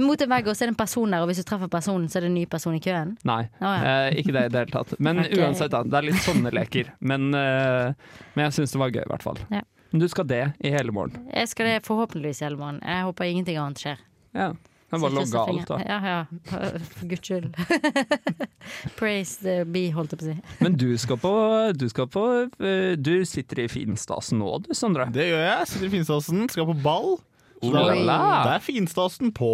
Mot en vegg, og så er det en person der, og hvis du treffer personen, så er det en ny person i køen.
Nei,
Å, ja.
eh, ikke det i det hele tatt. Men
Ok.
uansett, da. Det er litt sånne leker. Men, eh, men jeg syns det var gøy, i hvert fall.
Ja.
Men Du skal det i hele morgen.
Jeg skal det forhåpentligvis i hele morgen. Jeg håper ingenting annet skjer.
Ja. Jeg bare
Så krysser
logga alt,
fingeren.
da.
Ja, ja. For guds skyld. Praise the be, holdt jeg på å si.
Men du skal på Du, skal på, eh, du sitter i finstasen nå, du, Sondre.
Det gjør jeg. Sitter i Finstasen, skal på ball.
Så da- Der er finstasen på.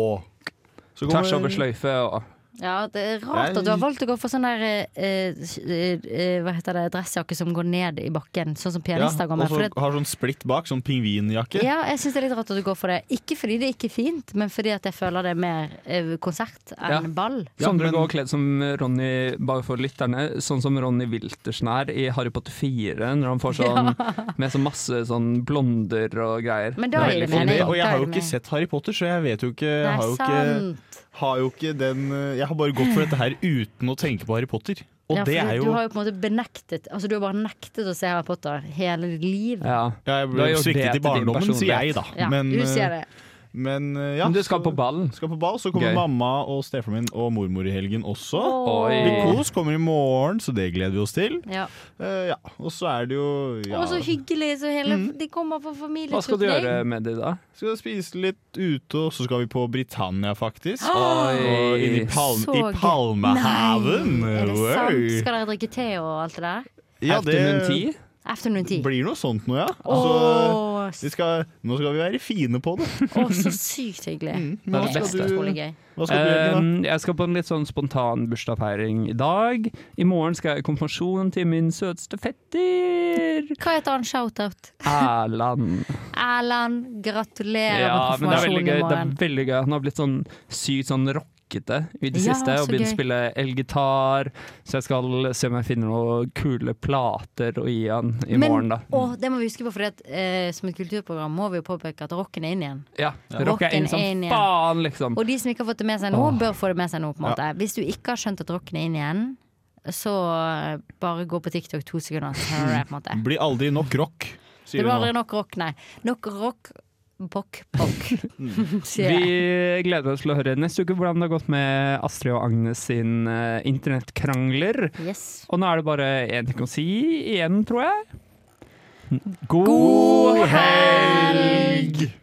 Så kommer-
Tvers over sløyfe og
Ja, det er rart at du har valgt å gå for sånn der eh, eh, eh, Hva heter det, dressjakke som går ned i bakken, sånn som
Ja,
pianister går
og
med. For
så
det,
har sånn splitt bak, sånn pingvinjakke.
ja, jeg syns det er litt rart at du går for det. Ikke fordi det ikke er fint, men fordi at jeg føler det er mer eh, konsert enn
Ja.
ball.
Sondre går kledd som Ronny, bare for lytterne, sånn som Ronny Wiltersen er i Harry Potter 4, når han får sånn med så masse sånn blonder og greier.
Men da gir det mening.
Og jeg
Da
har
gir
jo
det
ikke
mening.
sett Harry Potter, så jeg vet jo ikke,
Nei,
jeg har jo ikke,
sant.
har jo ikke den eh, Jeg har bare gått for dette her uten å tenke på Harry Potter. Og
Ja,
det
fordi
er
Du
jo
har jo på en måte benektet Altså du har bare nektet å se Harry Potter hele ditt liv.
Ja, jeg
Da
ble
er jo det
sviktet i
til din
barndommen, sier jeg,
personlighet.
da.
Ja,
Men, eh,
du sier det.
men eh, ja.
Men du skal
så-
på ballen.
Skal på ball, Så kommer
Gøy.
mamma og stefaren min og mormor i helgen også.
Oi.
Big Kos kommer i morgen, så det gleder vi oss til.
Ja.
Eh, ja. Og så er det jo ja. Mm.
Og så hyggelig, så hele De kommer på familietur.
Hva skal du
til deg.
gjøre
med det da?
Skal spise litt ute, og så skal vi på Britannia, faktisk.
Oi.
Og inn i, palm,
Så
i
gøy.
Palmehaven.
Nei, Er det
Wow.
sant? Skal dere drikke te og alt det der?
Ja, det
Afternoon
Afternoon tea.
blir noe sånt nå, ja.
Åh.
Så altså, vi skal, nå skal vi være fine på det.
Å, så sykt hyggelig.
Det er det
Helt
beste.
utrolig gøy.
Hva skal du gjøre,
Eh, jeg skal på en litt sånn spontan bursdagsfeiring i dag. I morgen skal jeg i konfirmasjon til min søteste fetter
Hva heter han? Shoutout.
Erland.
Erland, gratulerer
Ja,
med
men det er veldig gøy.
konfirmasjonen i
Det er
morgen.
veldig gøy. Han har blitt sånn sykt sånn rockete i det
Ja,
siste
så
og begynt
gøy.
å spille elgitar. Så jeg skal se om jeg finner noen kule plater å gi han i
Men-
morgen, da.
Å, det må vi huske på, for eh, som et kulturprogram må vi jo påpeke at rocken er inn igjen.
Ja, rock er
Rocken
inn som
er inn igjen.
faen, liksom.
Og de som ikke har fått det med seg nå,
Åh.
bør få det med seg nå. på en måte Hvis du ikke har skjønt at rocken er inn igjen, så eh, bare gå på TikTok to sekunder. Så hører du det, på en måte.
Blir aldri nok rock,
Det
sier
blir aldri
hun nå.
nok rock, nei. Nok rock, bokk, bokk. sier
Mm.
jeg.
Vi gleder oss til å høre neste uke hvordan det har gått med Astrid og Agnes sin eh, internettkrangler. Og nå er det bare én ting å si igjen, tror jeg. God, helg!